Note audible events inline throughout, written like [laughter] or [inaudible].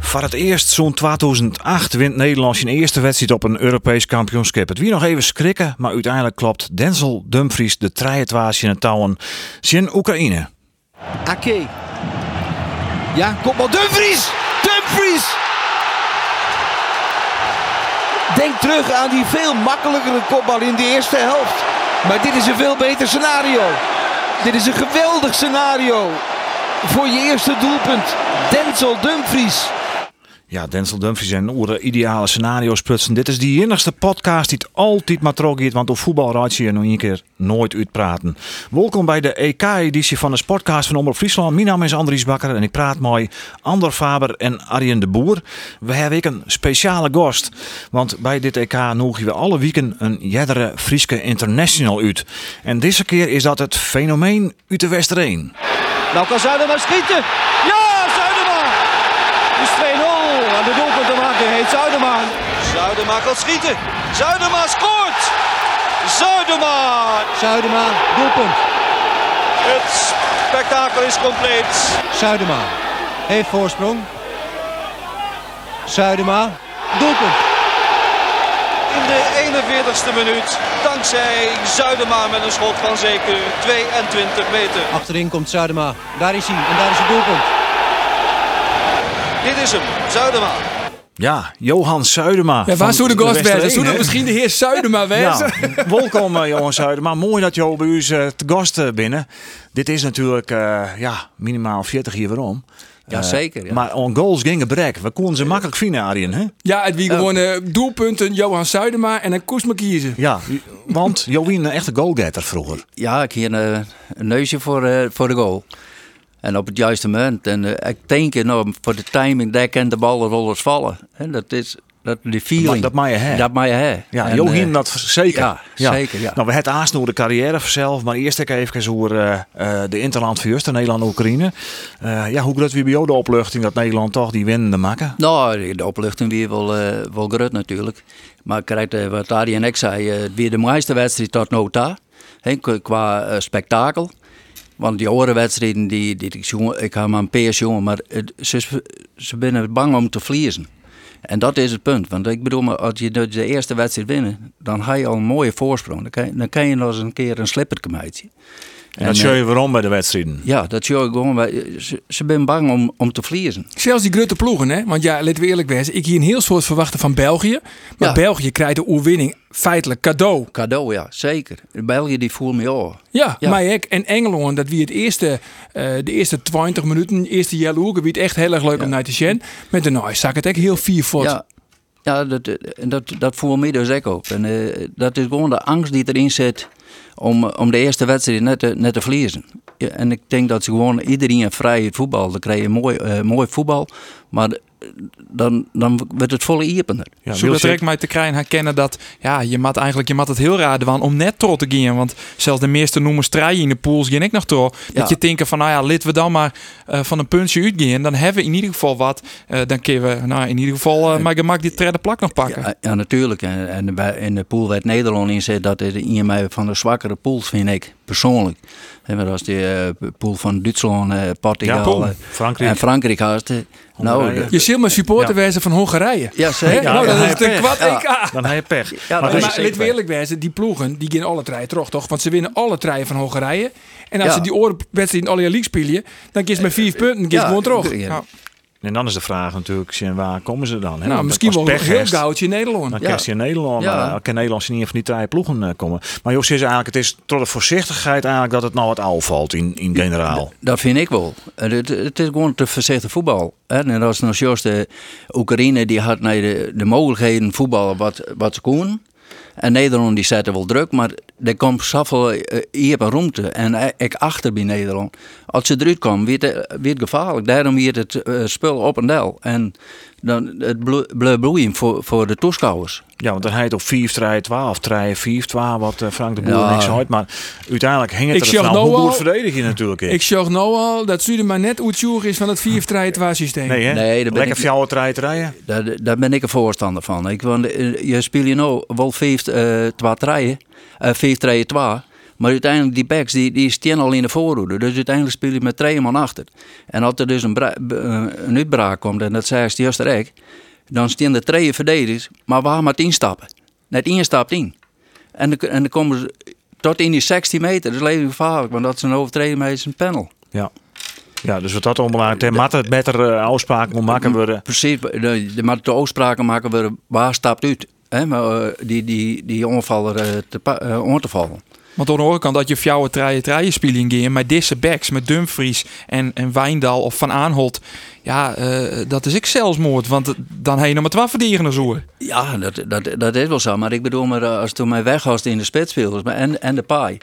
Voor het eerst zo'n 2008 wint Nederland zijn eerste wedstrijd op een Europees kampioenschap. Het wie nog even schrikken, maar uiteindelijk klopt Denzel Dumfries de treietwaas in het touwen. Zijn Oekraïne. Ake. Ja, kopbal. Dumfries! Dumfries! Denk terug aan die veel makkelijkere kopbal in de eerste helft. Maar dit is een veel beter scenario. Dit is een geweldig scenario voor je eerste doelpunt. Denzel Dumfries. Ja, Denzel Dumfries en oere ideale scenario's prutsen. Dit is die enigste podcast die het altijd maar trok gaat, want op voetbal raad je je nog een keer nooit uitpraten. Welkom bij de EK-editie van de Sportcast van Omroep Friesland. Mijn naam is Andries Bakker en ik praat met Ander Faber en Arjen de Boer. We hebben ik een speciale gast, want bij dit EK nodigen we alle weken een jerdere Frieske international uit. En deze keer is dat het fenomeen uit de Westereen. Nou kan Zuiderma schieten. Ja, Zuiderma! Dus 2-0. Aan de doelpunt te maken heet Zuiderma. Zuiderma kan schieten. Zuiderma scoort! Zuiderma! Zuiderma, doelpunt. Het spektakel is compleet. Zuiderma heeft voorsprong. Zuiderma, doelpunt. In de 41ste minuut, dankzij Zuidema met een schot van zeker 22 meter. Achterin komt Zuidema. Daar is hij en daar is het doelpunt. Dit is hem, Zuidema. Ja, Johan Zuidema. Ja, waar van zou de gast wezen? Westereen, Zou dat hè? misschien de heer Zuidema wezen? Ja, [laughs] welkom eh, Johan Zuidema. Mooi dat je bij ons eh, te gast eh, binnen. Dit is natuurlijk eh, ja, minimaal 40 hier waarom. Ja, Eh, zeker, ja. Maar on goals gingen brek. We konden ze makkelijk vinden, Arjen. Hè? Ja, het wie gewoon eh, doelpunten Johan Zuidema en een Koesma kiezen. Ja, want Johan een echte goalgetter vroeger. Ja, ik eh, hier een, een neusje voor, eh, voor de goal. En op het juiste moment. En eh, ik denk enorm voor de timing, daar kan de ballenrollers vallen. Hè, dat is dat, die feeling. dat mag je hebben. Dat mag je hebben. Ja, En, Johan eh, dat zeker. ja, zeker, ja. Nou, we het aansnoer de carrière vanzelf. Maar eerst even hoe eh, eh, de Interland verhuurst, Nederland-Oekraïne. Eh, ja, hoe groot wie bij jou de opluchting dat Nederland toch die winnende maken? Nou, de opluchting weer wel, eh wel groot natuurlijk. Maar ik krijg, eh, wat Arie en ik zei, eh, het weer de mooiste wedstrijd tot nota. Hè, qua- qua eh, spektakel. Want die andere wedstrijden, die, die, ik jongen, ik had maar een peers jongen, maar het- ze, ze zijn bang om te verliezen. En dat is het punt. Want ik bedoel, maar als je de de eerste wedstrijd winnen, dan heb je al een mooie voorsprong. Dan kan je, dan kan je nog eens een keer een slippertje meiden. En dat eh, show je waarom bij de wedstrijden. Ja, dat zie je gewoon. bij- Ze, ze zijn bang om, om te verliezen. Zelfs die grote ploegen, hè? Want ja, laten we eerlijk wezen. Ik hier een heel soort verwachten van België. Maar Ja. België krijgt de oerwinning feitelijk cadeau. Cadeau, ja, zeker. België die voelt me oh, aan. Ja, Ja. maar ik en Engeland, dat wie het eerste, eh, de eerste 20 minuten, de eerste jelle hoeken, wie het echt heel erg leuk om naar te zien. Met de nou, zag het echt heel vier voor. Ja, ja dat, eh, en dat, dat voel me dus ook op. En, eh, dat is gewoon de angst die erin zit om, eh, om de eerste wedstrijd net te, net te verliezen. Ja, en ik denk dat ze gewoon iedereen een vrije voetbal. Dan krijg je mooi, eh, mooi voetbal, maar eh, dan, dan wordt het volle iepener. Ja, Zo dat Wilsek- ik mij te krijgen herkennen dat ja, je mat eigenlijk je mat het heel raar doen om net trots te gaan. Want zelfs de meeste noemers draaien in de pools ging ik nog trots. Ja. Dat je denken van nou ja, laten we dan maar eh, van een puntje uitgaan. Dan hebben we in ieder geval wat. Eh, dan kunnen we nou, in ieder geval eh maar gemak die tredde plak nog pakken. Ja, ja, natuurlijk. En, en bij- in de pool werd Nederland in zit, dat is een mij van de zwakkere pools, vind ik persoonlijk. Hè, maar als die eh, pool van Duitsland, eh, Ja, Portugal pool. eh, Frankrijk. en Frankrijk haast. eh, Nou, Hongarije. Je zult maar supporter Ja. wezen van Hongarije. Ja, Hè? zeker. nou, ja, dat ja, is het een ja, kwad ja. EK. Dan heb je pech. maar Ja, dat dus- is zeker maar laten we waar. eerlijk wezen, die ploegen die gaan alle treien terug, toch? Want ze winnen alle treien van Hongarije. En als Ja. Eh, ze die orenwedstrijd in alle league spelen, dan kies met vier punten kies gewoon terug. ja. Nou, En dan is de vraag natuurlijk, Sjen, waar komen ze dan? hè? Nou, Want misschien als wel een pech heel heeft, goudje in Nederland. Dan Ja. kan je in Nederland, Ja. maar dan kan Nederland in ieder geval niet drie ploegen eh, komen. Maar Jos is eigenlijk, het is door de voorzichtigheid eigenlijk dat het nou wat ouw valt in, in generaal. Dat vind ik wel. En Het, het is gewoon te voorzichtig voetbal. hè. En als nog juist de Oekraïne die had naar de, de mogelijkheden voetballen wat, wat ze koen. En Nederland die zette wel druk, maar er komt zoveel eh, hier en ruimte. En eh, ik achter bij eh, Nederland. Als ze eruit komen, weer het, weer het gevaarlijk. Daarom weer het eh, spul op en del. En dan het blo- bleef bloeien voor, voor de toeschouwers. Ja, want dan heet op 5 3 12 3 5 12 wat eh, Frank de Boer Ja. niks uit. Maar uiteindelijk hing Ik het zie er nou nog hoe wel- goed verdedig je natuurlijk in. Ik zag nou al dat Zuiden maar net oetjoer is van het 4-3-2 systeem. nee, hè? Nee, daar ben Lekker ik- fjouwer rijden rijden. Daar, daar ben ik een voorstander van. Ik, want eh, je speelt je nou wel vijf, eh twee treien, eh vijf treien twee. Maar uiteindelijk die backs die, die staan al in de voorhoede. Dus uiteindelijk speel je met twee man achter. En als er dus een, bra- b- eh, een uitbraak komt, en dat zei ze juist rek, dan staan de treien verdedigers, maar waar maar tien stappen. Net één stapt in. En dan, en dan komen ze tot in die 16 meter. Dat is levensgevaarlijk, want dat is een overtreding met zijn panel. Ja. Ja, dus wat dat onbelangrijk ter matte het beter eh, afspraken moet maken worden. Precies, de, de, maar de afspraken maken we waar stapt uit. Hè, maar, eh, die, die, die onvaller eh, te, pa- eh, om te vallen. Want aan de andere kant dat je fjouwe treien treien spelen ging met deze backs, met Dumfries en, en Wijndal of Van Aanholt. Ja, eh, dat is ik zelfsmoord, want het- dan heb je nog maar twaalf verdedigers hoor. Ja, dat, dat, dat is wel zo. Maar ik bedoel, maar eh, als toen mijn weghoudt in de spits viel dus maar en, en de paai.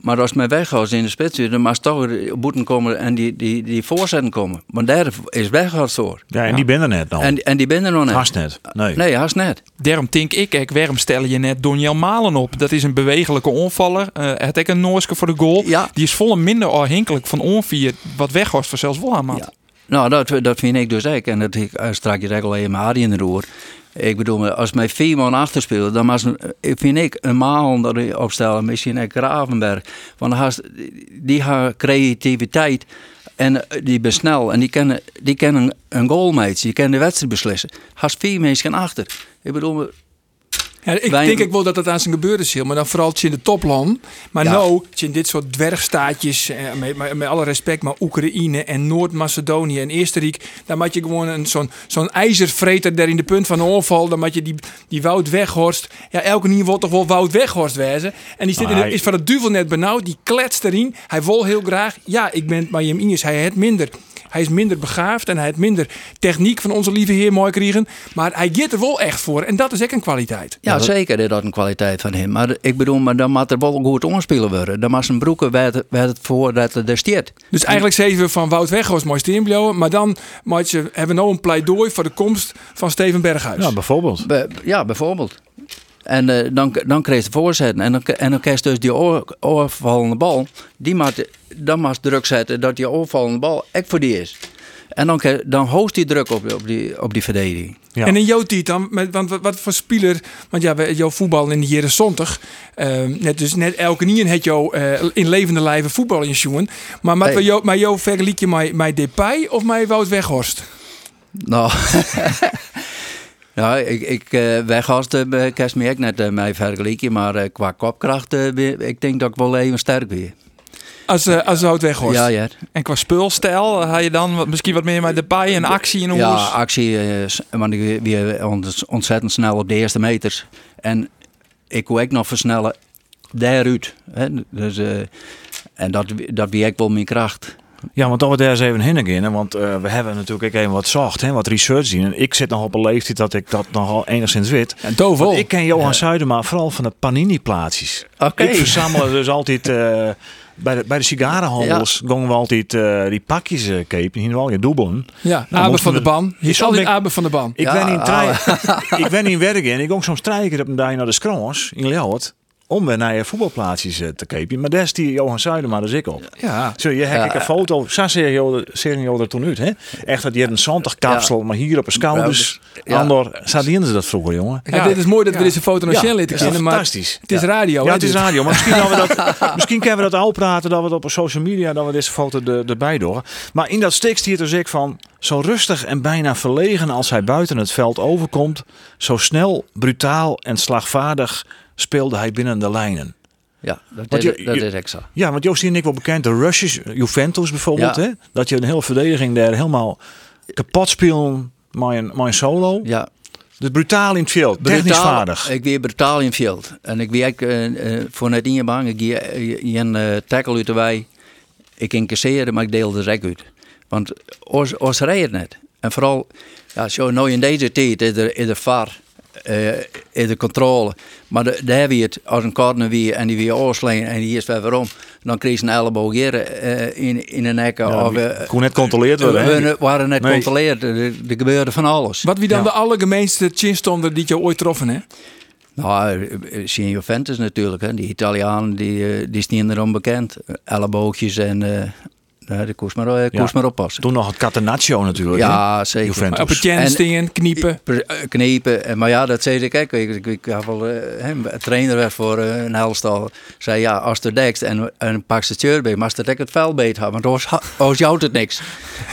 Maar als mijn weghoudt in de spits viel, dan mag ze toch weer boeten komen en die, die, die voorzetten komen. Want daar is weghoudt voor. Ja, en die ben er net nog. En, en die ben er nog net. Haast net. Nee. Nee, haast net. Daarom denk ik, ik waarom stel je net Donjel Malen op? Dat is een bewegelijke onvaller. Eh het ik een Noorske voor de goal. Ja. Die is volle minder afhankelijk van onvier wat weghorst voor zelfs Wolhamad. Ja. Nou, dat, dat vind ik dus ook. En dat ik, eh, strak je eigenlijk alleen maar in de roer. Ik bedoel, als mijn vier man achter speelt, dan was, vind ik een Maal er opstellen, misschien een Gravenberg. Want dan haast- die haar creativiteit en eh, die besnel en die kennen, die kennen een goalmates, die kennen de wedstrijd beslissen. Haast vier mensen achter. Ik bedoel, Ja, ik Wij- denk ik wel dat dat aan zijn gebeuren is, heel, maar dan vooral in de topland. Maar Ja. nou, in dit soort dwergstaatjes, eh, met, met, met alle respect, maar Oekraïne en Noord-Macedonië en Oostenrijk, daar moet je gewoon een, zo'n, zo'n ijzervreter daar in de punt van de oorval, dan moet je die, die Wout Weghorst, ja, elke nieuw wordt toch wel Wout Weghorst wezen. En die zit in de- Maar hij- is van het duvel net benauwd, die kletst erin. Hij wil heel graag, ja, ik ben maar Jem Ines, hij het minder. Hij is minder begaafd en hij heeft minder techniek van onze lieve heer mooi kriegen. Maar hij geeft er wel echt voor. En dat is echt een kwaliteit. Ja, zeker is dat een kwaliteit van hem. Maar ik bedoel, maar dan moet er wel goed omspelen worden. Dan moet zijn broeken werd, werd het voor dat er steert. Dus eigenlijk zeven we van Wout Weghorst mooi steenblouwen. Maar dan moet je, hebben we nou een pleidooi voor de komst van Steven Berghuis. Ja, bijvoorbeeld. Bij- ja, bijvoorbeeld. En eh, dan, dan kreeg je de voorzet. En dan, en dan kreeg je dus die oor- oorvallende bal. Die maakt, dan maakt druk zetten dat die oorvallende bal echt voor die is. En dan, kreeg- dan hoost die druk op, op, die, op die verdediging. Ja. En in jouw tijd dan, met, want wat, wat voor speler, want ja, we- jouw voetbal in de jaren 70, eh, net, dus net elke nien had jou eh, in levende lijven voetbal in schoen. Maar, maar, Nee. jou, maar jou vergelijk je mij, mij Depay of mij Wout Weghorst? Nou, [laughs] ja, ik, ik eh weghast, uh, kerst me ook net eh, mij vergelijken. Maar eh, qua kopkracht, eh, ben- ik denk dat ik wel even sterk ben. Als, eh, als Wout Weghorst. Ja, ja. En qua speelstijl eh, had je dan wat, misschien wat meer met de paai en actie in de Ja, hoes. ah, actie, eh, s- want ik weer ontzettend snel op de eerste meters. En ik kon ook nog versnellen daaruit. Hè? Dus, eh, en dat, dat wie ik wel mijn kracht. Ja, want dan we daar eens even heen gaan, hè, Want eh, we hebben natuurlijk ook even wat zacht, hè, wat research zien. En ik zit nog op een leeftijd dat ik dat nogal enigszins weet. En Dovo. Want ik ken Johan Zuidema vooral van de panini-plaatsjes. Oké. Ik verzamel dus altijd... eh, bij de, bij de sigarenhandels gongen we altijd eh, die pakjes eh kepen. Hier wel je dubbelen. ja, Nou, Abe moesten van we- de Ban. Hier Is is al die Almec- Abe van de Ban. Ik Ja, ben in trein. [laughs] ik ben in Wergen en ik ging soms strijken op een dag naar de Scrans in Leeuwarden. Om weer naar je voetbalplaatsjes eh, te kepen. Maar daar die Johan Zuidema dus ik op. Ja. Zo, je Eh, heb ik een foto. Zo serie je er toen uit, hè? Echt dat je een zantig kapsel, maar hier op een schouders. Ja. Andor, zadien ze dat vroeger, jongen? Ja, dit is mooi dat we deze foto naar Ja, Shell lieten ja, kennen, maar fantastisch. Het is radio. Ja, hè, het dus is dit? radio, maar misschien, dat we [laughs] dat, misschien kunnen we dat al praten, dat we het op social media, dat we deze foto er- erbij door. Maar in dat stikst hier dus ik van, zo rustig en bijna verlegen als hij buiten het veld overkomt, zo snel, brutaal en slagvaardig speelde hij binnen de lijnen. Ja, dat, Want is, je- dat je- is extra. Ja, want Joost en ik wel bekend, de Russisch, eh, Juventus bijvoorbeeld, Ja. hè? dat je een hele verdediging daar helemaal kapot speelt. Mijn, mijn solo. Ja, Dus brutaal in het veld. Technisch Brutaal- Eh, vaardig. Ik weer brutaal in het veld. En ik weet eh, eh, voor net in je bang, ik hier, eh, een eh, tackle uit de wei. Ik incasseren, maar ik deel de rek uit. Want ons rijdt het net. En vooral, ja, zo nou in deze tijd is er, is er VAR. eh, in de controle. Maar de, daar weer het, als een corner weer en die weer oorsleen en die is weer weer om, dan kreeg ze een elleboog hier eh, in, in de nek. of, eh, kon net controleerd we, worden. hè? we waren net Nee. controleerd, er, er gebeurde van alles. Wat wie dan de allergemeenste chinstonder die je ooit troffen, hè? Nou, zien Juventus natuurlijk. Hè. Die Italianen die, eh, die zijn erom bekend. Elleboogjes en eh nou, daar koest maar, eh, Ja. koest maar oppassen. Toen nog het Catenaccio natuurlijk. Ja, hè? zeker. Juventus. Op het En- chen stingen, kniepen. Per- eh, Knepen. En- Maar ja, dat zei ik. Kijk, ik, ik, ik had wel eh, hem, een trainer werd voor eh, een helstal. Zei ja, als de dekst en, en pak ze het shirt bij, maar als de dek het vuil beet had, want als, als jouwt het niks.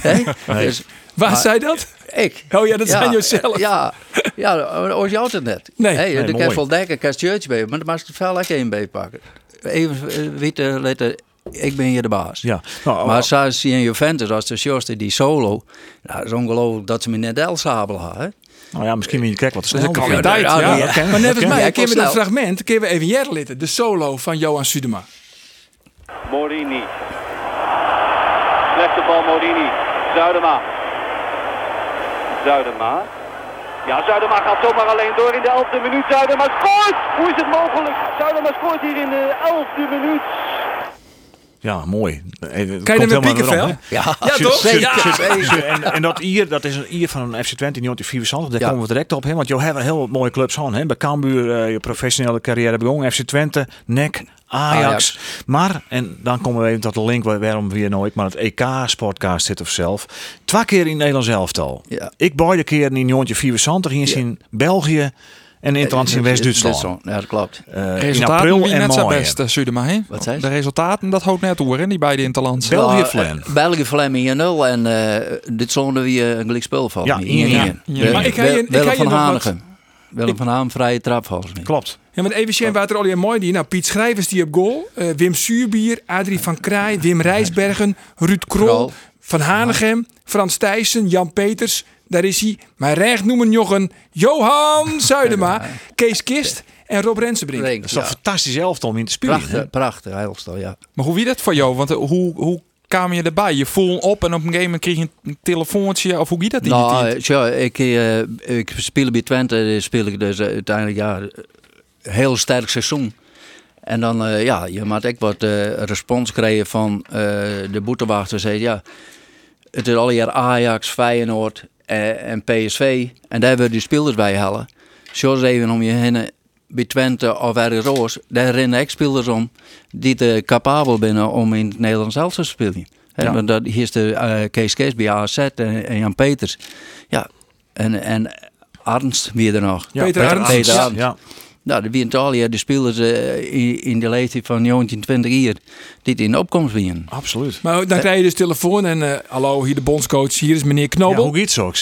Hè? Dus Waar maar- zei dat? ik. Oh ja, dat zijn jezelf. Ja, ja, als jouwt het net. Nee. Hey, Nee, de mooi. kerst wel dekken, kerst shirtje bij, maar dan mag ze het vuil ook één bij pakken. Even eh, weten, letten, ik ben hier de baas. Ja. Nou, Maar zoals in Juventus, als de Sjoste die solo, nou, dat is ongelooflijk dat ze me net El Sabel hadden. nou ja, misschien moet je kijk wat snel. een kwaliteit. Ja, ja. ja, Ja. dat ken- Maar net dat als ken- Ja, mij, ik nou- keer we was dat snel. fragment, keer we even Jerlitten, de solo van Johan Sudema. Morini. Slechte bal Morini. Zuidema. Zuidema. Ja, Zuidema gaat zomaar alleen door in de 11e minuut. Zuidema scoort! Hoe is het mogelijk? Zuidema scoort hier in de 11e minuit. Ja, mooi. Kan je er weer pieken, Vel? Ja, Ja, toch? Ja. En, en dat Ier, dat is een Ier van FC Twente, die 74, daar Ja. komen we direct op. Hè? Want je hebt heel wat mooie clubs aan. Hè? Bij Cambuur, eh, je professionele carrière begon. FC Twente, NEC, Ajax. Ajax. Maar, en dan komen we even tot de link, waar- waarom weer nooit. Maar het EK Sportcast zit of zelf. Twee keer in Nederland zelf al. Ja. Ik beide keer in 1974, hier in België en in Trans Dus in West-Duitsland. Ja, dat klopt. Eh, in Resultaten april wie en net zijn mei. best, eh, Sudema. hè? Wat zei ze? De resultaten, dat houdt net door, hè, die beide interlands. Wel- België Ja, Vlam. eh, België Vlam in 0 en eh, dit zonde wie eh, een gelijk spel valt. Ja, Hier, hier, hier. ja. Hier. Wel- Maar ik ga je- ik Wel- ga je Willem van nog wat- Hanegem. Willem van Hanegem, vrije trap volgens mij. Klopt. Ja, want even zien water en mooi die. Nou, Piet Schrijvers die op goal. eh, Wim Suurbier, Adrie van Kraai, Wim Rijsbergen, Ruud Krol, Krol. Van Hanegem, Frans Thijssen, Jan Peters. Daar is hij. Maar recht noemen jochen Johan Zuidema, Kees Kist en Rob Rensenbrink. Brink, Dat is toch ja. fantastisch elftal om in te spelen. hè? Prachtig, prachtig, Heilstel, ja. Maar hoe wie dat voor jou? Want eh, hoe, hoe kwam je erbij? Je voelde hem op en op een gegeven moment kreeg je een telefoontje. Of hoe wie dat in die Nou, tijd? eh, tja, ik, eh, ik speel bij Twente, eh, speel ik dus eh, uiteindelijk ja, eh, heel sterk seizoen. En dan, eh, ja, je maakt echt wat eh, respons krijgen van eh, de boetewachter. Zei, ja, het is al jaar Ajax, Feyenoord eh, en PSV. En daar willen die spelers bij halen. Zoals even om je heen, eh, bij Twente of ergens anders, daar rennen echt spelers om die te capabel binnen om in het Nederlands elftal te spelen. Hè, Ja. Want dat, hier is de eh, Kees Kees bij AZ en, en Jan Peters. Ja, en, en Arnst weer er nog. Ja, Peter Arends. Peter Ja, Arends. ja. Nou, de Bientalia, de spelers eh, in, in de leeftijd van 19, 20 jaar, die het in de opkomst winnen. Absoluut. Maar dan krijg je dus telefoon en eh, hallo, hier de bondscoach, hier is meneer Ja, Knobel. hoe iets ook.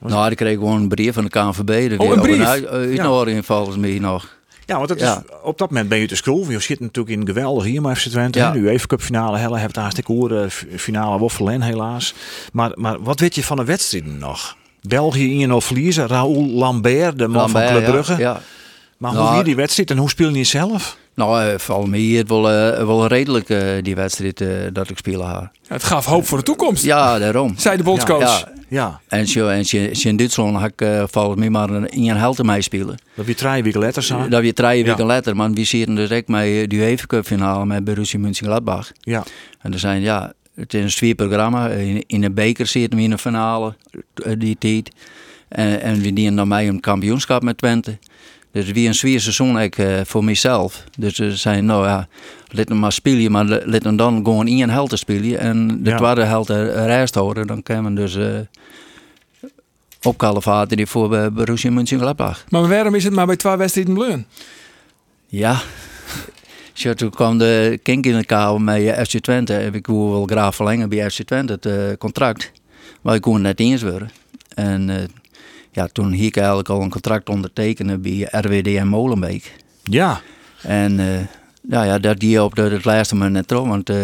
Nou, ik kreeg gewoon een brief van de KNVB. dat Oh, weer een op brief? uit- Uitnodiging volgens mij nog. Ja, want dat Ja. Is, op dat moment ben je te school. Je zit natuurlijk in geweldig hier, maar FC Twente. Ja. Nu even Cup finale, Helle heeft hartstikke horen. eh, Finale Woffelen, helaas. Maar, maar wat weet je van de wedstrijden nog? België 1-0 verliezen. Raoul Lambert, de man Lambert, van Club ja, Brugge. ja. Maar Nou, hoe hier die wedstrijd en hoe speel je zelf? Nou, eh, volgens mij hier wel, eh, wel redelijk eh, die wedstrijd eh, dat ik spelen had. Het gaf hoop voor de toekomst, Ja, daarom. zei de bondscoach. Ja. Ja, En zo, en zo- zo in Duitsland had ik eh, volgens mij maar een, in een helte mee spelen. dat weer drie weken later zijn. Dat we drie Ja. weken later, maar we zitten dus echt met eh, die UEFA Cup finale met Borussia Mönchengladbach. Ja, En er zijn, ja, het is een sfeerprogramma. In, in een beker zitten we in een finale, eh, die tijd. En, en we dienen dan mij een kampioenschap met Twente. Dus wie een zwaar seizoen ik, eh, voor mezelf. Dus ze zijn, nou ja, laat hem maar spelen, maar la- laat hem dan gewoon één held te spelen. En de Ja. tweede held er rest houden, dan kunnen we dus eh op Kalevaten die voor eh, Borussia Mönchengladbach. Maar waarom is het maar bij twee wedstrijden bleun? Ja. Zo, toen kwam de kink in de kabel met eh, FC Twente. Heb Ik wil wel graag verlengen bij FC Twente het eh, contract. Maar ik kon het net eens worden. En eh, ja, toen hie ik eigenlijk al een contract ondertekenen bij RWDM Molenbeek. ja. En eh, nou ja, dat die op de, het laatste moment net trouw. Want eh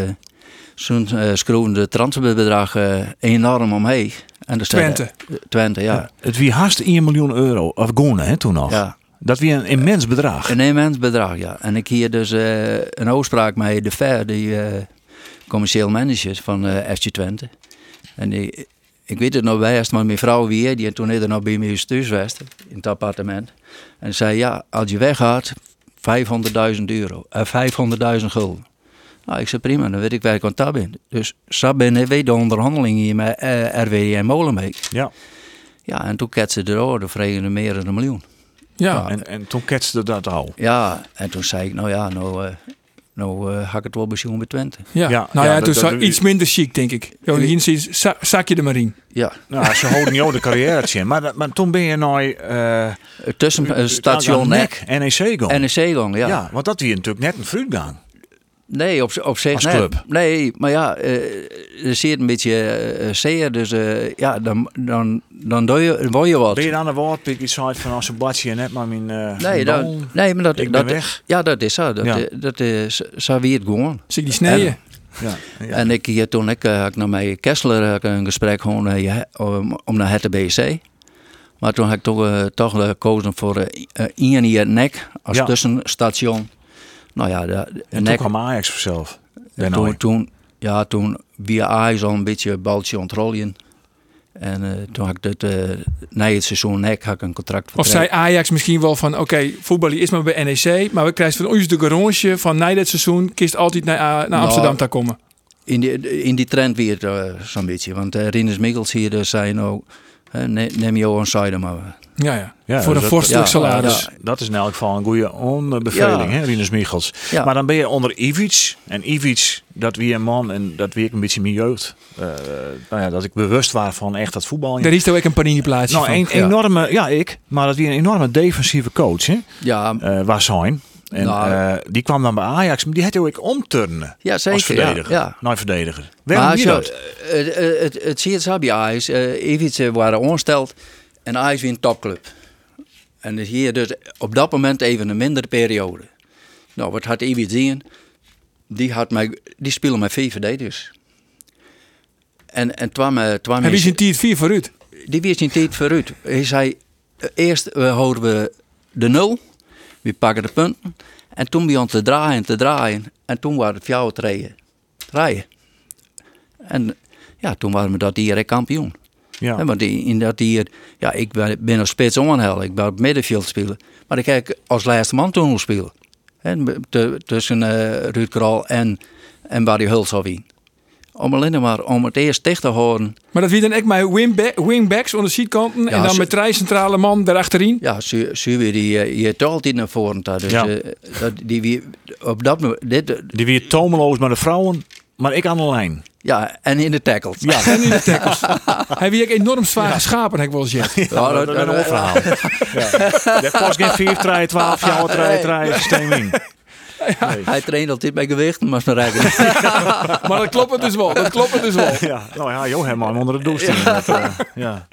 toen eh schroeven de transferbedrag eh, enorm omheen. En dus, Twente. Twente, ja. Het wie haast 1 miljoen euro. Of gonen, hè, toen nog. ja. Dat wie een immens bedrag. Een immens bedrag, ja. En ik hier dus eh, een afspraak met de Ver, die eh, commercieel manager van eh FC Twente. En die, Ik weet het nog best, want mijn vrouw weer, die toen er nog bij mij thuis was, in het appartement. En zei, ja, als je weggaat, 500.000 euro, eh, 500.000 gulden. Nou, ik zei prima, dan weet ik waar ik aan toe ben. Dus Sab en weet de onderhandeling hier met eh, RWE en Molenbeek. Ja. Ja, en toen ketsen ze erover, de vreemde meer dan een miljoen. Ja, En, en toen ketste dat al. Ja, en toen zei ik, nou ja, nou, eh, nou eh, hak ik het wel pensioen bij Twente. ja. Ja, nou ja, ja, dat- toen dat- zou iets minder chic, denk ik. Jolien, zak je er maar in. Ja, Nou, ze houden jou de carrière in. Maar, dat- maar toen ben je naar eh, tussen eh, station E Nek NEC gaan. en een zeegang, E ja. want dat hier natuurlijk net een fruitgang. Nee, op, op zich Als net. club. Nee, maar ja, eh, er zit een beetje eh, zeer, dus eh, ja, dan, dan, dan doe je, word je wat. Ben je dan een woord, pik iets uit van als een bladje en net maar mijn. eh, mijn Nee, dan, bal. nee maar dat, Ik dat, ben weg. Ja, dat is zo. Dat, Ja. eh, dat is zo wie het gewoon. Zie ik die sneeën? En- Ja, ja. En ik, hier, toen ik, eh, had ik naar mijn Kessler eh, had ik een gesprek gewoon, eh, ja, om, om naar het BC. Maar toen heb ik toch, eh, toch eh, gekozen voor eh, eh, Ian hier nek als Ja. tussenstation. Nou ja, de, En toen nek kwam Ajax vanzelf. En Daarna. toen, toen, ja, toen via Ajax al een beetje het baltje ontrollen. En eh, toen had ik dit, eh, na het seizoen nek had ik een contract Of zei Ajax misschien wel van, oké, voetballen is maar bij NEC, maar we krijgen van ons de garage van na dit seizoen, kist altijd naar, naar Amsterdam te komen. In die, in die trend weer eh, zo'n beetje. Want eh Rinus Mikkels hier dus zei nou, eh, ne- neem jou on side maar. Ja, ja. Ja, dus Voor een dat- vorstelijk ja, salaris. ja. Dat is in elk geval een goede onbeveling, Ja. hè, Rinus Michels. Ja. Maar dan ben je onder Ivic. En Ivic, dat wie een man en dat wie ik een beetje mijn jeugd. Eh, nou ja, dat ik bewust was van echt dat voetbal. Daar is toch ook een panini plaatsje Nou, van. een ja. enorme, ja ik, maar dat wie een enorme defensieve coach, hè, Ja, eh, was zijn. En Nou. eh, die kwam dan bij Ajax, maar die had hij ook omturnen. ja zeker. Als verdediger. Ja, ja. Nou, verdediger. Waarom maar die zo, dat? het, het, het, het zie je het zo bij Ajax. Eh, Ivic eh, waren ongesteld en Ajax weer een topclub. En dus hier dus op dat moment even een mindere periode. Nou, wat had Ivic zien? Die, had mij, die speelde met vier verdedigers. dus. En, en twam, eh, twam en wie is- is een tier 4 vooruit? die wist niet tijd vooruit. Hij zei, eh, eerst eh, houden we de nul, we pakken de punten. En toen begon het te draaien en te draaien. En toen waren het jouw rijden. rijden. En ja, toen waren we dat hier kampioen. Ja. Hè, want die- in dat hier, ja, ik ben, ben als spits onhel, ik ben op middenveld spelen. Maar ik heb als laatste man toen nog spelen. Hè, te- tussen eh, Ruud Kral en, en Barry Huls al wien. Om alleen maar om het eerst dicht te houden. Maar dat wie dan ook maar wingba- wingbacks onder de zijkanten en Ja, dan ze- met drie centrale man daarachterin. Ja, Suwe die eh, je taalt in naar voren. daar. Dus, Ja. eh, dat, die, wie- op dat moment. Dit, eh, Die weer tomeloos met de vrouwen, maar ik aan de lijn. ja, en in de tackles. Ja, En in de tackles. Hij wie ook enorm zwaar geschapen, heb ik wel eens [laughs] gezegd. Ja, eh, dat is een ander verhaal. Ja. Daar past geen 4, 3, 12, jaar, 3, 3, systeem in. Hij traint altijd bij gewichten, maar ze [laughs] rijden. Maar dat klopt het dus wel. Dat klopt het dus [laughs] wel. Ja, nou ja, joh, helemaal onder de douche. Ja. ja.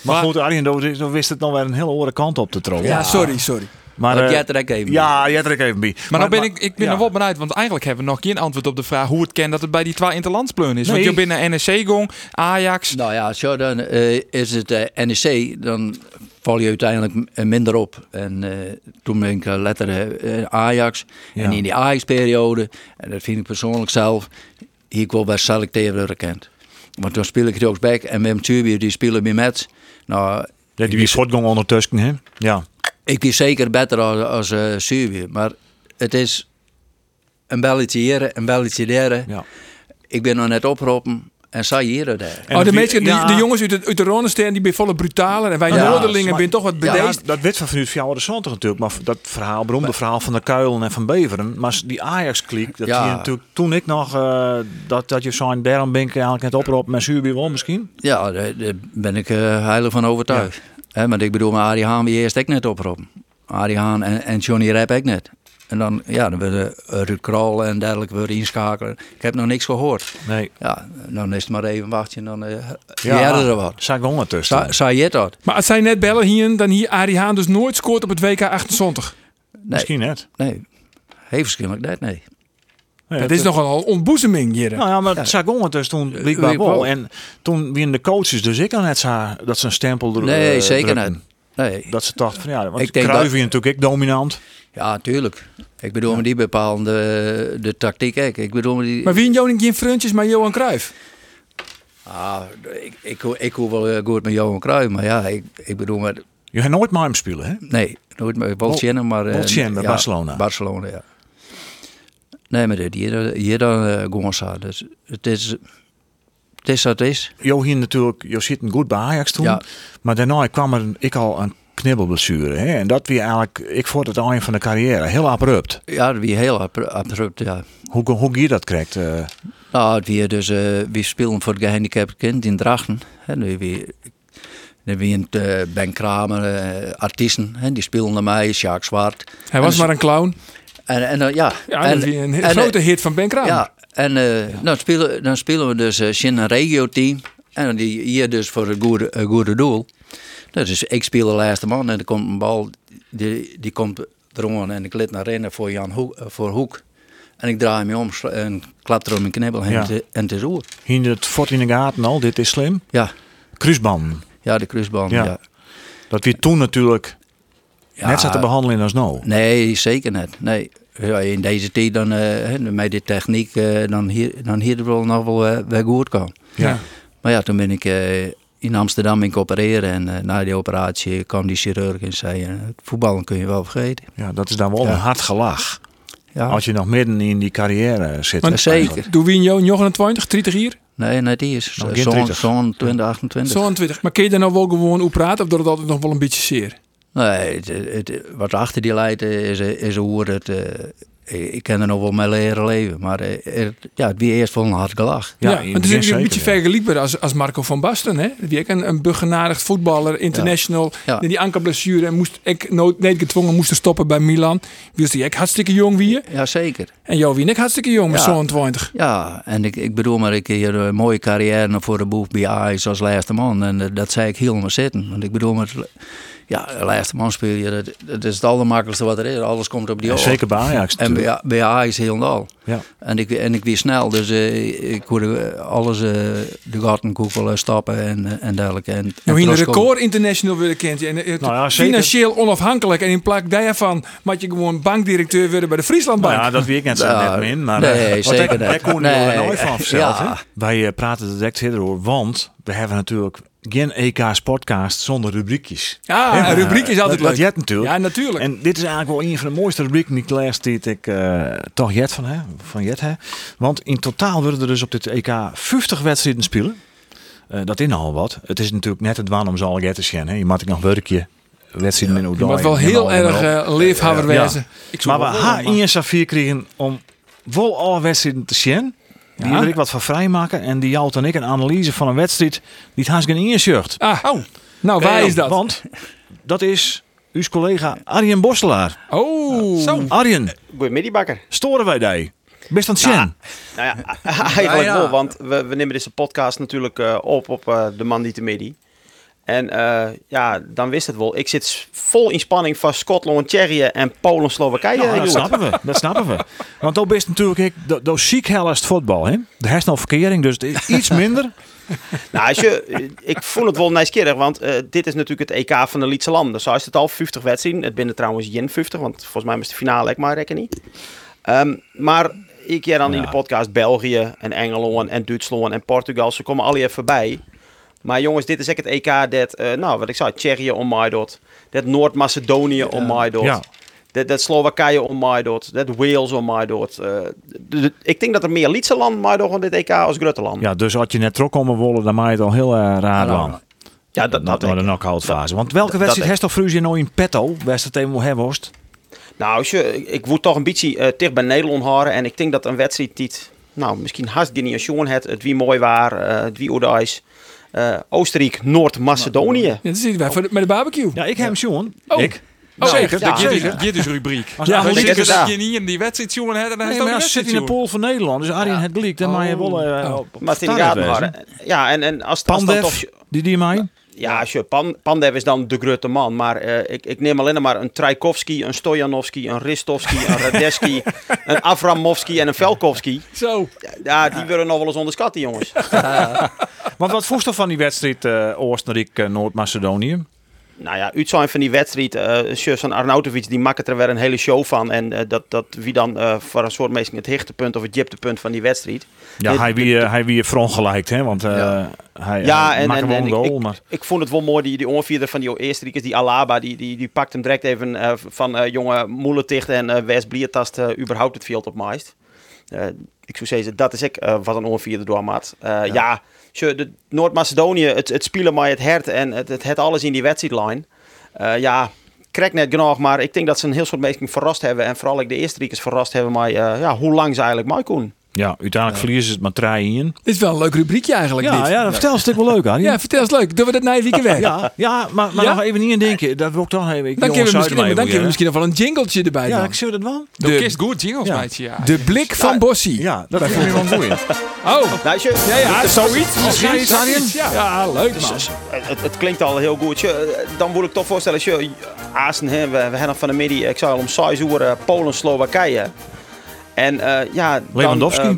Maar, goed, Arjen, dan dan wist het nog weer een hele andere kant op te trokken. Ja, sorry, sorry. Maar, Want eh, jij trekt even. Ja, jij trekt even bij. Maar, nou ben ik, ik ben ja. er wel benieuwd, want eigenlijk hebben we nog geen antwoord op de vraag hoe het kan dat het bij die twee interlandspleunen is. Nee. Want je bent naar NEC gong, Ajax. Nou ja, zo dan eh, is het eh, NEC, dan val je uiteindelijk m- eh, minder op. En eh, toen ben ik eh, letter eh, Ajax. Ja. En in die Ajax-periode, en dat vind ik persoonlijk zelf, hier kwam bij selecteren herkend. Want toen speel ik het ook back en Wim Tuurbier die spelen bij Mets. Nou, Ja, die wie voortgang ondertussen, hè? Ja. Ik die zeker beter als, als eh, Servië. Maar het is een belletje hier, een belletje daar. ja. Ik ben nog net oproepen en zij hier en daar. En oh, de, wie- mensen, die- ja. de jongens uit de, uit de Ronenstein, die ben volle brutaler. En wij Ja, Noorderlingen maar- ben toch wat Ja, bedeesd. dat werd van vanuit Fjouwer de Zanter natuurlijk. Maar dat verhaal, beroemde verhaal van de Kuilen en van Beveren. Maar die Ajax-kliek, dat Ja. zie je natuurlijk toen ik nog... eh, dat, dat je zo'n daarom ben ik eigenlijk net oproep met Zuurbier wel misschien. Ja, daar daar ben ik eh heilig van overtuigd. Hè, want ik bedoel, maar Arie Haan wie eerst ik net oproepen. Arie Haan en, en Johnny Rep ik net. En dan, ja, dan werden eh, Ruud Krol en dergelijke weer inschakelen. Ik heb nog niks gehoord. Nee. Ja, dan is het maar even wachten en dan eh ja. er wat. Zag ik wel ondertussen. Zij- Zij je dat? Maar als zij net bellen hier, dan hier Arie Haan dus nooit scoort op het WK 78. Nee, Misschien net. nee. Heel verschillend net, nee. Nee, Dat is nogal een ontboezeming hier. Nou ja, maar het zag onder dus toen blijkbaar blijkbaar wel. wel. En toen wien de coaches dus ik aan het za- dat ze een stempel er, Nee, eh, zeker drukken. niet. Nee. Dat ze dachten van ja, want ik Ik denk dat- natuurlijk ik dominant. Ja, tuurlijk. Ik bedoel, maar die bepalen de, de eh, tactiek. ook. Ik bedoel, maar die, Maar wie in Joning geen Fruntjes, maar Johan Cruijff? Ah, ik, ik, hoor- ik hoor wel eh, goed met Johan Cruijff, maar ja, ik, ik bedoel, maar, Je gaat nooit maar hem spelen, hè? nee, nooit met Bolsjennen, maar... eh, Bolsjennen, ja, Barcelona. Barcelona, ja. Nee, maar dit, hier, hier dan eh Gonza, dus het is, het is wat het is. Jo hier natuurlijk, Jo zit een goed bij Ajax toen. Ja. Maar daarna kwam er een- ik al een knibbelblessure. Hè? En dat weer eigenlijk, ik vond het einde van de carrière heel abrupt. Ja, dat wie heel abru- abrupt, ja. Hoe, hoe je dat krijgt. eh, Nou, het weer dus, eh we spelen voor het gehandicapte kind in Drachten. Hè, nu weer, nu weer een, eh, Ben Kramer, eh, artiesten, hè, die spelen naar mij, Sjaak Zwart. Hij was maar een clown. En, en, eh, ja, Ja, en, dat is een en, eh, grote hit van Ben Kramer. Ja, en eh, Dan, spelen, dan spelen we dus eh in een regio-team. En die hier dus voor het goede, het goede doel. Nou, Dus ik speel de laatste man en er komt een bal, die, die komt erom en ik let naar rennen voor Jan Hoek, eh, voor Hoek. En ik draai me om sla- en klap er om mijn knibbel heen Ja. en het- en het is oer. Hier het fort in de gaten al, dit is slim. Ja, Kruisband. ja de kruisband. Ja. Ja. Ja. Dat weer toen natuurlijk net zat te behandelen als nou. Nee, zeker niet. Nee. Ja, in deze tijd dan, eh, hè, met die techniek, eh, dan hier, dan hier wel nog wel eh, wel goed kan. Ja. Maar ja, toen ben ik eh, in Amsterdam in opereren. En eh, na die operatie kwam die chirurg en zei: eh, het Voetballen kun je wel vergeten. ja, dat is dan wel Ja. een hard gelach. Ja, Als je nog midden in die carrière zit. Ja, zeker. Doe wie in jou 29, 30 hier? Nee, nee, die is Nou, eh, geen zo'n 30. zo'n 20, 28. 20. Maar kun je daar nou wel gewoon hoe praten of doet het altijd nog wel een beetje zeer? Nee, het, het- wat achter die leidt eh, is, eh, is hoe het. eh, ik kan er nog wel mee leren leven. Maar eh, het- ja, het wie eerst wel een hard gelach. Ja, Ja, in want het is die natuurlijk een beetje zeker, ja. vergelijkbaar als, als Marco van Basten. Hè? Die ook een, een begenadigd voetballer, international. Ja. Die ankerblessure en moest ik nooit nee, gedwongen moesten stoppen bij Milan. Wist die ook hartstikke jong wie je. Ja, zeker. En jou wie ik hartstikke jong met Ja. zo'n 20. Ja, en ik, ik bedoel maar, ik heb een mooie carrière voor de boef bij Ajax als laatste man. En eh, dat zei ik helemaal zitten. Want ik bedoel maar, ja, laatste man speel je, dat, dat is het allermakkelijkste wat er is. Alles komt op die Ja, oor. zeker bij Ajax En natuurlijk. bij, bij Ajax heel en al. Ja. En ik, en ik weer snel, dus eh, ik hoorde eh, alles, eh, de gartenkoepel eh, stappen en, eh, en dergelijke. En, en Nou, hier een Troskop. record international willen kent. En, eh, Nou ja, zeker. financieel onafhankelijk. En in plak daarvan moet je gewoon bankdirecteur worden bij de Frieslandbank. Nou ja, dat weet ik net zo Ja, net min. Maar nee, eh, wat daar- zeker niet. Daar kon je er Nee, nooit van verteld, ja. hè? Wij eh, praten er direct verder over, want we hebben natuurlijk geen EK Sportcast zonder rubriekjes. Ja, Hè? Ah, Eh, een rubriek is altijd dat, leuk. Dat jet natuurlijk. Ja, natuurlijk. En dit is eigenlijk wel een van de mooiste rubrieken die ik les die ik eh, toch jet van, hè? van jet hè? Want in totaal worden er dus op dit EK 50 wedstrijden spelen. Eh, dat is nogal wat. Het is natuurlijk net het waan om ze al jet te zien. hè. Je maakt nog werkje. Wedstrijden in Je Oudai. moet wel en heel al- en erg al. eh, leefhaber Ja. wezen. Maar we haar Ian Safir kregen om wel alle wedstrijden te zien. Die wil ik wat van vrijmaken. En die houdt dan ik een analyse van een wedstrijd die het haast geen Ian zucht. Ah, nou waar is dat? Want dat is uw collega Arjen Bosselaar. Oh, Arjen, [laughs] Goedemiddag, storen wij die? Best aan het zien. Nou ja, eigenlijk wel, want we, we nemen deze podcast natuurlijk eh, op op eh, de man die te midi. En eh, ja, dan wist het wel. Ik zit s- vol in spanning van Schotland, Tsjechië en Polen, Slowakije. Nou, dat jongen. snappen we, dat snappen we. Want dat is natuurlijk ik, dat, dat ziek hel is het voetbal. Hè? De hersenverkering, dus het is iets minder. Nou, als je, eh, ik voel het wel nieuwsgierig, want eh, dit is natuurlijk het EK van de Lietse landen. Zo is het al, 50 wedstrijden. Het binnen trouwens Jen 50, want volgens mij is de finale ik maar rekken niet. Ehm, maar ik ja dan in de podcast België en Engeland en Duitsland en Portugal. Ze komen al even voorbij. Maar jongens, dit is echt het EK dat, eh, nou wat ik zei, Tsjechië on my dot. Dat Noord-Macedonië on my dot. Ja. Dat, dat Slowakije on my dot. Dat Wales on my dot. Eh, d- d- ik denk dat er meer Lietse landen my dot aan dit EK als Grutteland. Ja, dus had je net trok om wollen, dan maak je het al heel eh, raar Nou, lang. ja Dat, dat, denk de ik. knock-out fase. Want welke wedstrijd denk heeft toch Fruzie nou in petto? Wedstrijd tegen Moheborst? Nou, als je- ik- ik word toch een beetje eh dicht bij Nederland horen. En ik denk dat een wedstrijd die het, nou, misschien haast geen niet een het, het wie mooi waar, eh, het wie Oudijs, eh, Oostenrijk, Noord-Macedonië. dit zitten wij voor de- met de barbecue. Ja, ik heb hem, Sjoen. Oh. Ik. Oh, zeker, ja, Dit is, zeker. dit is rubriek. Als ja, Arjen als dit je is daar. dat je niet in die wedstrijd jongen hebt, dan Nee, heeft maar hij ja, ook ze zit in de wedstrijd, jongen. pool van Nederland. Dus Arjen het gelijk, dan maak je wel eh, op- op Maar het in de standaard gaten wezen. houden. Ja, en, en als, als dan toch... Pandev, die die mij. Ja, als je Pan, Pandev is dan de grote man. Maar eh, ik, ik neem alleen maar een Trajkovski, een Stojanovski, een Ristovski, een [laughs] Radeski, een Avramovski en een Velkovski. Zo. Ja, die worden nog wel eens onderschatten, jongens. Want wat voest er van die wedstrijd eh Oostenrijk, eh, Noord-Macedonië? nou ja, uit zijn van die wedstrijd, eh Sjus en Arnautovic, die maken er weer een hele show van. En eh, dat, dat wie dan eh, voor een soort meesting het hichtepunt of het jiptepunt van die wedstrijd. Ja, Dit- hij wie, eh, hij wie gelijkt, hè? Want eh, hij, Ja, hij en, maakt en, wel en een ik, goal, ik, maar ik vond het wel mooi, die, die onvierder van die eerste is die Alaba, die, die, die pakt hem direct even eh, van eh, jonge Moelenticht en eh Wes Bliertast eh, überhaupt het veld op Meist. Eh, ik zou zeggen, dat is ik eh, wat een onvierder door maat. Eh, ja, tje, de Noord-Macedonië, het, het spelen maar het hert en het, het, het alles in die wedstrijdlijn. Eh, ja, krijg net genoeg, maar ik denk dat ze een heel soort mensen verrast hebben. En vooral ik de eerste verrast hebben, maar eh, ja, hoe lang ze eigenlijk maar koen. ja, uiteindelijk verliezen ze het maar 3 in. Dit is wel een leuk rubriekje eigenlijk. Ja, dit. ja, dat vertel een stuk wel leuk aan. ja, vertel eens leuk. Doen we dat na je [laughs] weekend weg? ja, ja, maar, maar Ja? nog even niet in denken. Dat wil ik toch even. Ik Dan kunnen we misschien, dan kunnen we misschien. misschien nog wel een jingletje erbij Ja, doen. ik zie dat wel. De kist goed jingles, Ja. meidje. Ja. De blik van Bossi. Ja, dat voel je wel mooi. Oh, Nou, tje, ja, ja. Zoiets. misschien, Zoiets, ja. ja, leuk man. Het, het klinkt al heel goed. Je, dan moet ik toch voorstellen, als je Azen, hè, we, we hebben nog van de middag, ik zou al om 6 uur eh, Polen, Slowakije. En eh ja, dan, Lewandowski. eh,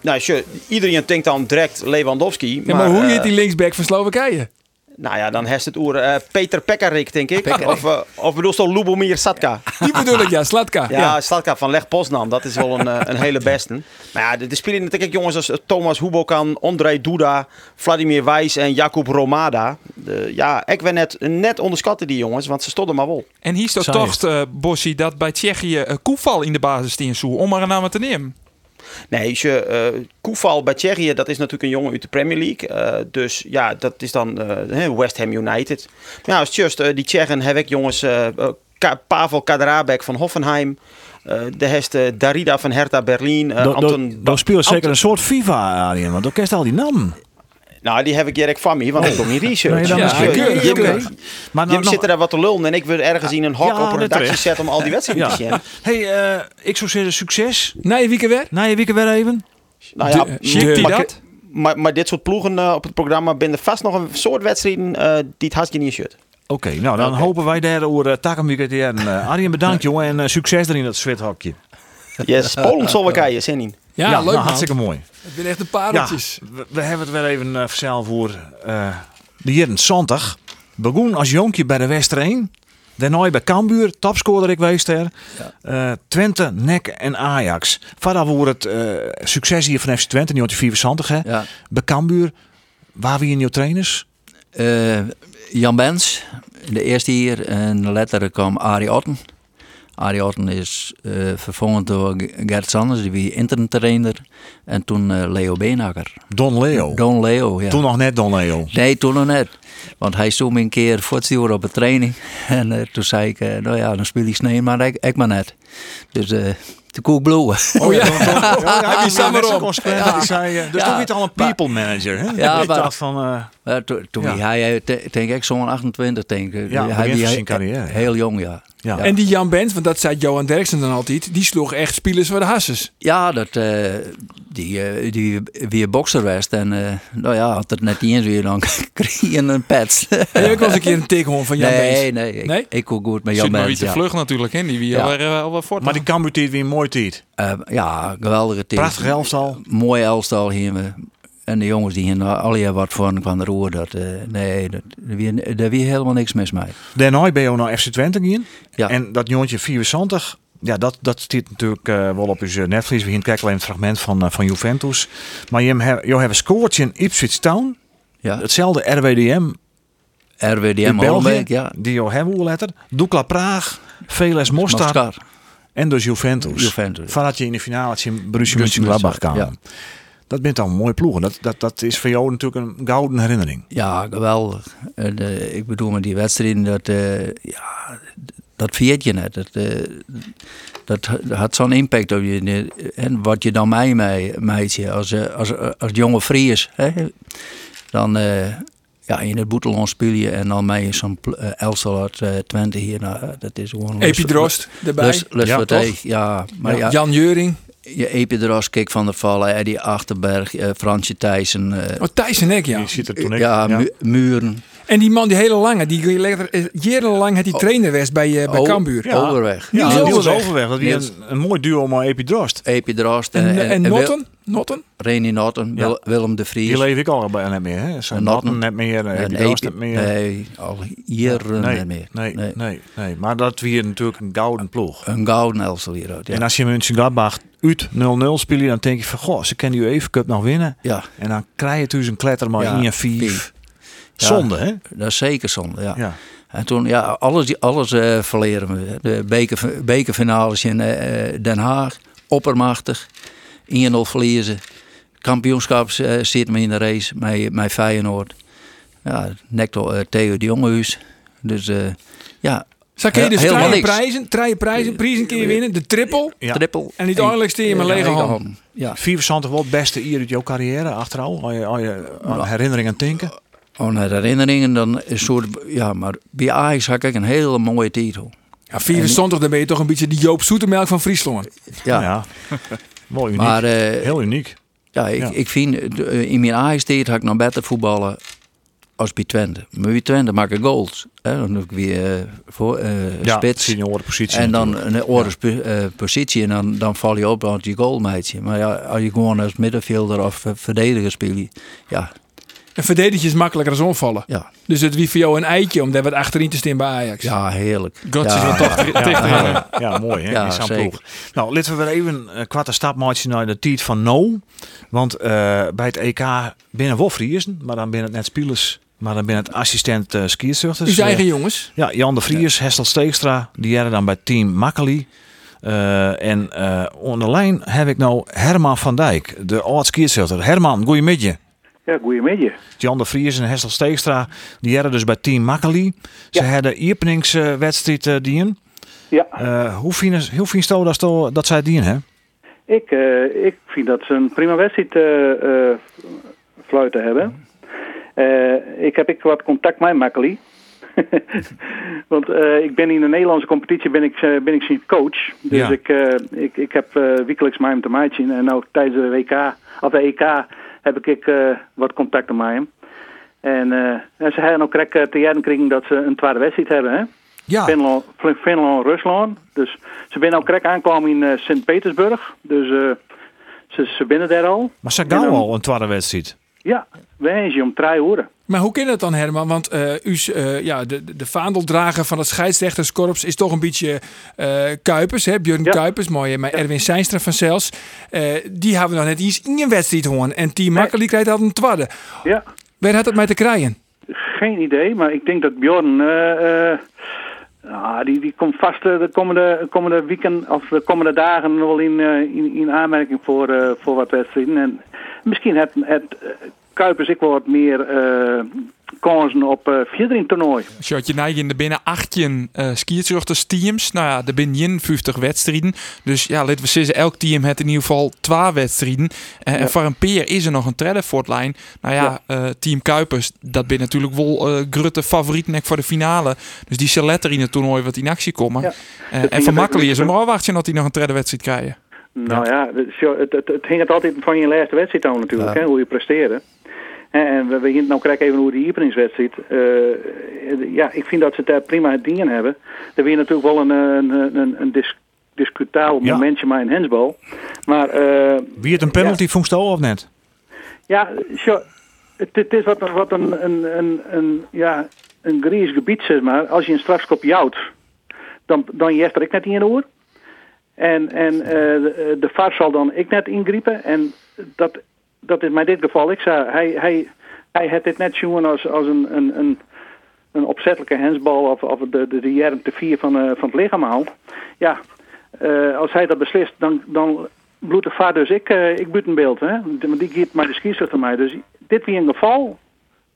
nou, je, iedereen denkt dan direct Lewandowski. Ja, maar, hoe eh, heet die linksback van Slowakije? Nou ja, dan heeft het oer eh, Peter Pekarik, denk ik. Of, eh, of bedoel je Lubomir Satka? Die bedoel ik, ja, Slatka. Ja, Slatka van Leg Poznan, dat is wel een, eh, een hele beste. Maar ja, de, de spelen natuurlijk jongens als eh, Thomas Hubokan, André Duda, Vladimir Wijs en Jakub Romada. De- ja, ik ben net, net onderschatten die jongens, want ze stonden maar wel. En hier staat Saai. toch, eh, Bossie, dat bij Tsjechië eh, Koeval in de basis in zoe, om maar een naam te nemen. Nee, als je, eh Koeval bij Tsjechië, dat is natuurlijk een jongen uit de Premier League. Eh, dus ja, dat is dan eh, hè, West Ham United. Maar ja, als just eh, die Tsjechen heb ik jongens eh, eh, Ka- Pavel Kadrabek van Hoffenheim. eh de hest eh, Darida van Hertha Berlin. eh, Anton Ba- Dan speelt zeker Anton- een soort FIFA, Arjen. Want dan kerst al die nam. Nou, die heb ik direct van me, want ik kom niet research. Oh. Nee, dan is Dus, het eh, keurig, Jim- keurig. Maar Jim zit er daar wat te lullen en ik wil ergens in een hok nou. Ja, op een dat redactie terecht. zetten om al die wedstrijden te zien. Hey, eh, ik zou zeggen succes. Na je weekend weg? Na je weekend weer even. Nou ja, De- Schikt hij maar- dat? Maar, maar dit soort ploegen eh, op het programma binnen vast nog een soort wedstrijden eh, die het hartje [laughs] niet shirt. Oké, nou dan hopen wij daar over uh, Takamika te hebben. Eh, Arjen, bedankt jongen. En eh, succes erin dat zwethokje. Yes, Polen, Slowakije, zin in. Ja, nou, leuk man. Hartstikke mooi. Ik ben echt een Ja, pareltjes. we, we hebben het weer even eh verzeld voor eh, de Jeren Zondag. Begon als jonkje bij de Westerheen. Daarna bij Cambuur, topscorer ik geweest er. Eh, Twente, NEC en Ajax. Vandaar voor het eh, succes hier van FC Twente, die 74 hè. Ja. Bij Cambuur, waar wie in jouw trainers? Eh, Jan Bens, de eerste hier. En later kwam Arie Otten. Arie Otten is eh vervangen door Gert Sanders, die wie interim trainer. En toen eh, Leo Beenhakker. Don Leo. Don Leo, ja. Oh. Toen nog net Don Leo. Nee, toen nog net. Want hij stond me een keer voortstuur op een training. [laughs] En eh, toen zei ik, eh, nou ja, dan speel ik snee, maar ik, ik maar net. Dus eh de koek bloeien. Oh [laughs] ja, ja, staat maar op. Die zei, eh, dus Ja. toen werd het al een people manager. Hè? Ja, ik maar- dacht van, eh, [laughs] Maar toen toen Ja. hij, eh, te- denk ik, zo'n 28, denk ik. Ja, hij begin van hij- zijn carrière, ja. Heel jong, ja. ja. En die Jan Bent, want dat zei Johan Derksen dan altijd, die sloeg echt spelers voor de hasses. Ja, dat, eh, die, eh, die weer bokser was. En eh, nou ja, had het net niet eens weer, dan [laughs] kreeg je een pet. Heb je ook wel eens een keer een tikhoorn van Jan nee, Bent? nee, ik, Nee? nou ik ook goed met Zit Jan maar weer Bens. te Ja. vlug natuurlijk, hè? Die wie Ja. al weer, eh, al wel voort. maar die Cambuur deed weer een mooi tijd. Eh, ja, geweldige team. Prachtig elftal. Mooi elftal hier. we. En de jongens die hier nou al hier wat van kwam de roer. Dat, eh, nee, dat, daar weer- daar weer helemaal niks mis mee. Daarna ben je ook naar FC Twente gegaan. Ja. En dat jongetje 74, ja, dat, dat staat natuurlijk eh, wel op je netvlies. We gaan kijken alleen het fragment van, eh, van Juventus. Maar je hebt een scoortje in Ipswich Town. Ja. Hetzelfde RWDM RWDM in België. Holbeek, ja. Die jou hebben hoe letter. Dukla Praag, Veles Mostard Mostar. en dus Juventus. Juventus, ja. Vanaf je in de finale in Borussia Mönchengladbach kwam. Ja. Dat bent dan een mooie ploeg. En Dat, dat, dat is voor jou natuurlijk een gouden herinnering. Ja, geweldig. En, eh, ik bedoel, met die wedstrijden, dat, eh, ja, dat viert je net. Dat, eh, dat had zo'n impact op je. eh, En wat je dan mij, mij meidje, als, eh, als, als jonge Fries, hè, dan eh, ja, in het Boetelon speel je en dan mij zo'n pl- eh, Elsel uit eh, Twente hier. Nou, dat is gewoon... lust- Epidrost erbij. Lust, lust Ja, voor toch? tegen, ja. Maar ja, Jan Jeuring. je Epidros, Kik van der Vallen, Eddie Achterberg, eh, Fransje Thijssen. eh, Oh, Thijs en ik, ja. Je ziet er toen ik. ja, Mu- Muren. En die man, die hele lange, die ging lekker- eh, jarenlang had die trainer geweest bij, eh, bij Oh, Cambuur. ja. Overweg. Ja, Niels Niels Overweg. Overweg. Dat was Niels- een, een mooi duo maar Epidrost. Epidrost En, eh, en, en, Wil- Notten? Notten? Reni Norton, Wil- Willem de Vries. Die leef ik al bijna niet meer. Hè? Zijn Notten. Notten net meer, eh, En die Epi- Gast net meer. Nee, al jaren nee, niet meer. Nee, nee, nee, Maar dat weer natuurlijk een gouden ploeg. Een gouden elftal hieruit, ja. En als je Mönchengladbach uit 0-0 spelen, dan denk je van, goh, ze kunnen die UEFA Cup nog winnen. ja, En dan krijg je dus een kletter maar Ja, 1 en 4. vier. Zonde, hè? dat is zeker zonde, ja. Ja. En toen, ja, alles, alles eh, verleren we. De beker, bekerfinales in eh, eh, Den Haag, oppermachtig. 1-0 verliezen. Kampioenschaps eh, zit me in de race met, met Feyenoord. Ja, Nector, Theo de Jongehuis. Dus eh, ja, Zak je Heel- dus helemaal drie niks. prijzen, drie prijzen, prijzen kun je winnen, de triple. Ja. trippel. En niet eindelijk steer je maar lege hand. Ja, 74 wel het beste hier uit jouw carrière achteral. Als je, als je aan herinneringen aan denken. aan Oh, nou, herinneringen dan een soort, ja, maar bij Ajax had ik een hele mooie titel. Ja, 74, dan ben je toch een beetje die Joop Zoetemelk van Friesland. Ja, [laughs] Ja. Mooi uniek. maar eh, Heel uniek. ja, ik, ja. ik vind eh, in mijn Ajax tijd had ik nog beter voetballen als bij Twente. Maar bij Twente maak ik goals. Hè? Dan doe ik weer eh, voor, eh, Ja, spits. senioren positie. En dan natuurlijk. een oorlogspositie en dan, dan val je op als je goalmeidje. Maar ja, als je gewoon als middenvelder of eh, verdediger speelt, ja, En verdedigen is makkelijker dan aanvallen. ja, Dus het wie voor jou een eitje om daar wat achterin te staan bij Ajax. ja, heerlijk. God, ze ja, zijn toch Ja, ja, ja, mooi hè, Ja, in zo'n zeker. ploeg. Nou, laten we weer even een kwart stapmaatje naar de tijd van No. Want eh, bij het EK binnen wel Vriezen, maar dan binnen het net spelers, maar dan binnen het assistent eh skierzuchters. Dus, Uw eigen Eh, jongens. ja, Jan de Vries, Hessel Steekstra, die jaren dan bij team Makkeli. Eh, en eh onder lijn heb ik nou Herman van Dijk, de oud skierzuchter. Herman, goeiemiddag. Ja, goeiemiddag. Jan de Vries en Hessel Steekstra, die jaren dus bij team Makkeli. Ze hadden openingswedstrijd eh die in. Ja, Eh, hoe vind je- hoe vind je dat, ze- dat zij dien, hè? ik, eh, ik vind dat ze een prima wedstrijd eh, eh, fluiten hebben. Eh, ik heb ik wat contact met Makkeli. [laughs] Want eh, ik ben in de Nederlandse competitie ben ik, eh, ben ik zijn coach. Dus Ja. ik, eh, ik, ik heb eh wekelijks met hem te maatje. En ook tijdens de WK, of de EK, heb ik, ik eh, wat contacten met hem. En eh, en ze hebben ook krek te jaren gekregen dat ze een tweede wedstrijd hebben, Ah. hè? Ja, Finland, Fin- Finland, Rusland. Dus ze zijn ook krek aankwamen in eh, Sint-Petersburg. Dus eh, ze, ze binnen daar al. maar ze gaan En dan- al een tweede wedstrijd. Ja, we zijn je om drie uur. Maar hoe kan dat dan, Herman? Want eh u, is, eh, ja, de, de- de vaandeldrager van het scheidsrechterskorps is toch een beetje eh, Kuipers, hè? Björn Ja. Kuipers, mooi. hè? Maar Erwin Seinstra van zelfs, eh, die hebben we nog net eens in een wedstrijd hoorn. En Team Makkeli krijgt dat een twadde. Ja, Waar had het mij te krijgen? geen idee. Maar ik denk dat Bjorn... eh, eh, ah, die, die komt vast eh, de komende, komende weekend of de komende dagen wel in, eh, in, in aanmerking voor, eh, voor wat wedstrijden. En misschien het, het eh, Kuipers ik wel wat meer eh, kansen op eh vierdering toernooi. Shotje neigen er binnen 18 eh skiertruchters-teams. Nou ja, er binnen 51 wedstrijden. Dus ja, laten we zeggen, elk team heeft in ieder geval 12 wedstrijden. Eh, En voor een peer is er nog een trailer voor het lijn. Nou ja, eh, team Kuipers, dat ben natuurlijk wel eh Grutte favorieten ook voor de finale. Dus die zal letter in het toernooi wat in actie komen. Ja. Eh, Dat en vind van ik- Makkeli is hem al wachtje dat hij nog een trailer wedstrijd krijgt. Nou ja, het- zo- het, het, het hing het altijd van je laatste wedstrijd aan natuurlijk, hè, hoe je presteerde. En, en we, we hinten nou krijg even hoe die openingswedstrijd. eh ja, ik vind dat ze het daar prima het dingen hebben. Er weer natuurlijk wel een, eh, een, een, een, een dis- discutabel Ja. momentje maar een hensbal. Maar eh, Wie het een penalty vond je al of net? ja, zo, het, het is wat, een- wat een, een, een, een, ja, een grijs gebied, zeg maar. Als je een strafschop jouwt, dan, dan jeft er ik net in een oor. En, en eh, de, de VAR zal dan ik net ingrijpen. En dat, dat is mij dit geval. Ik zei, hij, hij, hij had dit net zien als, als een, een, een, een opzettelijke hensbal of, of de, de, de jaren te vier van, eh, van het lichaam haalt. Ja, eh, als hij dat beslist, dan, dan bloedt de vaar dus ik, eh ik buiten beeld. Hè? Want die geeft mij de schiedsrechter mij. Dus dit weer een geval,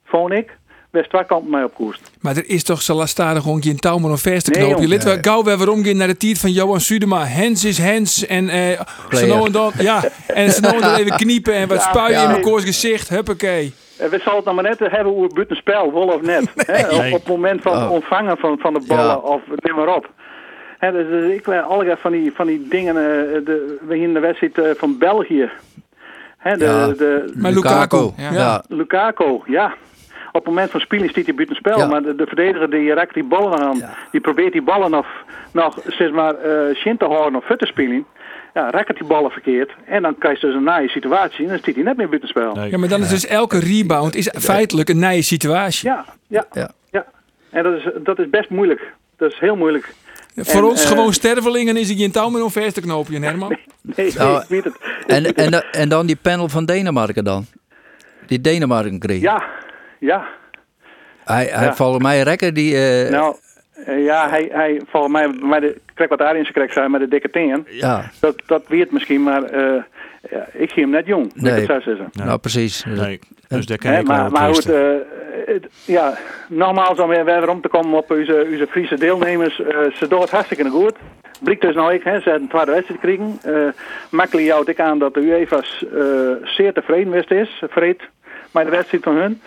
vond ik, best twee kanten mij op koers. Maar er is toch zo lastadig gewoon geen touw maar om vast te Nee, knopen. je jongen. lid wel gauw weer weer omgaan naar de tijd van Johan Sudema. Hens is Hens. En eh ze Player. nou en dan, ja, en ze nou en dan [laughs] even kniepen en wat Ja, spuien ja. in elkaars gezicht. Huppakee. En we zullen het nou maar net hebben over buitenspel, wel of [laughs] net. hè? Op, op het moment van het ontvangen van, van de ballen Oh. Ja. of neem maar op. Hè, dus, eh, ik weet allerlei van die, van die dingen. eh, de, we in de wedstrijd eh, van België. Hè, de, Ja. de, Maar Lukaku. Ja. ja. Lukaku, ja. Op het moment van spelen stiet hij buitenspel. Ja. Maar de, de verdediger die raakt die ballen aan. Die probeert die ballen nog, nog zeg maar, eh shin te houden of fut te spelen. ja, racket die ballen verkeerd. En dan krijg je dus een naaie situatie en dan zit hij net meer buitenspel. Nee. Ja, maar eh, dan is dus elke rebound is feitelijk een nije situatie. Ja, ja, Ja. ja. En dat is, dat is best moeilijk. Dat is heel moeilijk. Voor En, ons eh, gewoon stervelingen is hij in touw met een vast te knopen, Herman. Nee, Nou, ik weet het. En, en, da- en dan die panel van Denemarken dan. Die Denemarken kreeg. Ja, ja. Hij, hij Ja. volgens mij rekker die... eh, Nou, eh, ja, hij, hij volgens mij, maar de, kijk wat daar in zijn krek zijn met de dikke teen. ja, Dat, dat weet misschien, maar eh, ja, ik zie hem net jong. Nee. Nee. Ik het zo zeggen. nou precies. Nee, dus daar Hè, ken ik wel maar, op maar goed, twisten. eh, het- ja, nogmaals om weer weer om te komen op onze, onze Friese deelnemers. eh, ze doen het hartstikke goed. Blijkt dus nou ik, hè, ze hebben een tweede wedstrijd gekregen. Eh makkelijk houdt ik aan dat de UEFA 's, eh zeer tevreden wist is, vreed, met de wedstrijd van hun.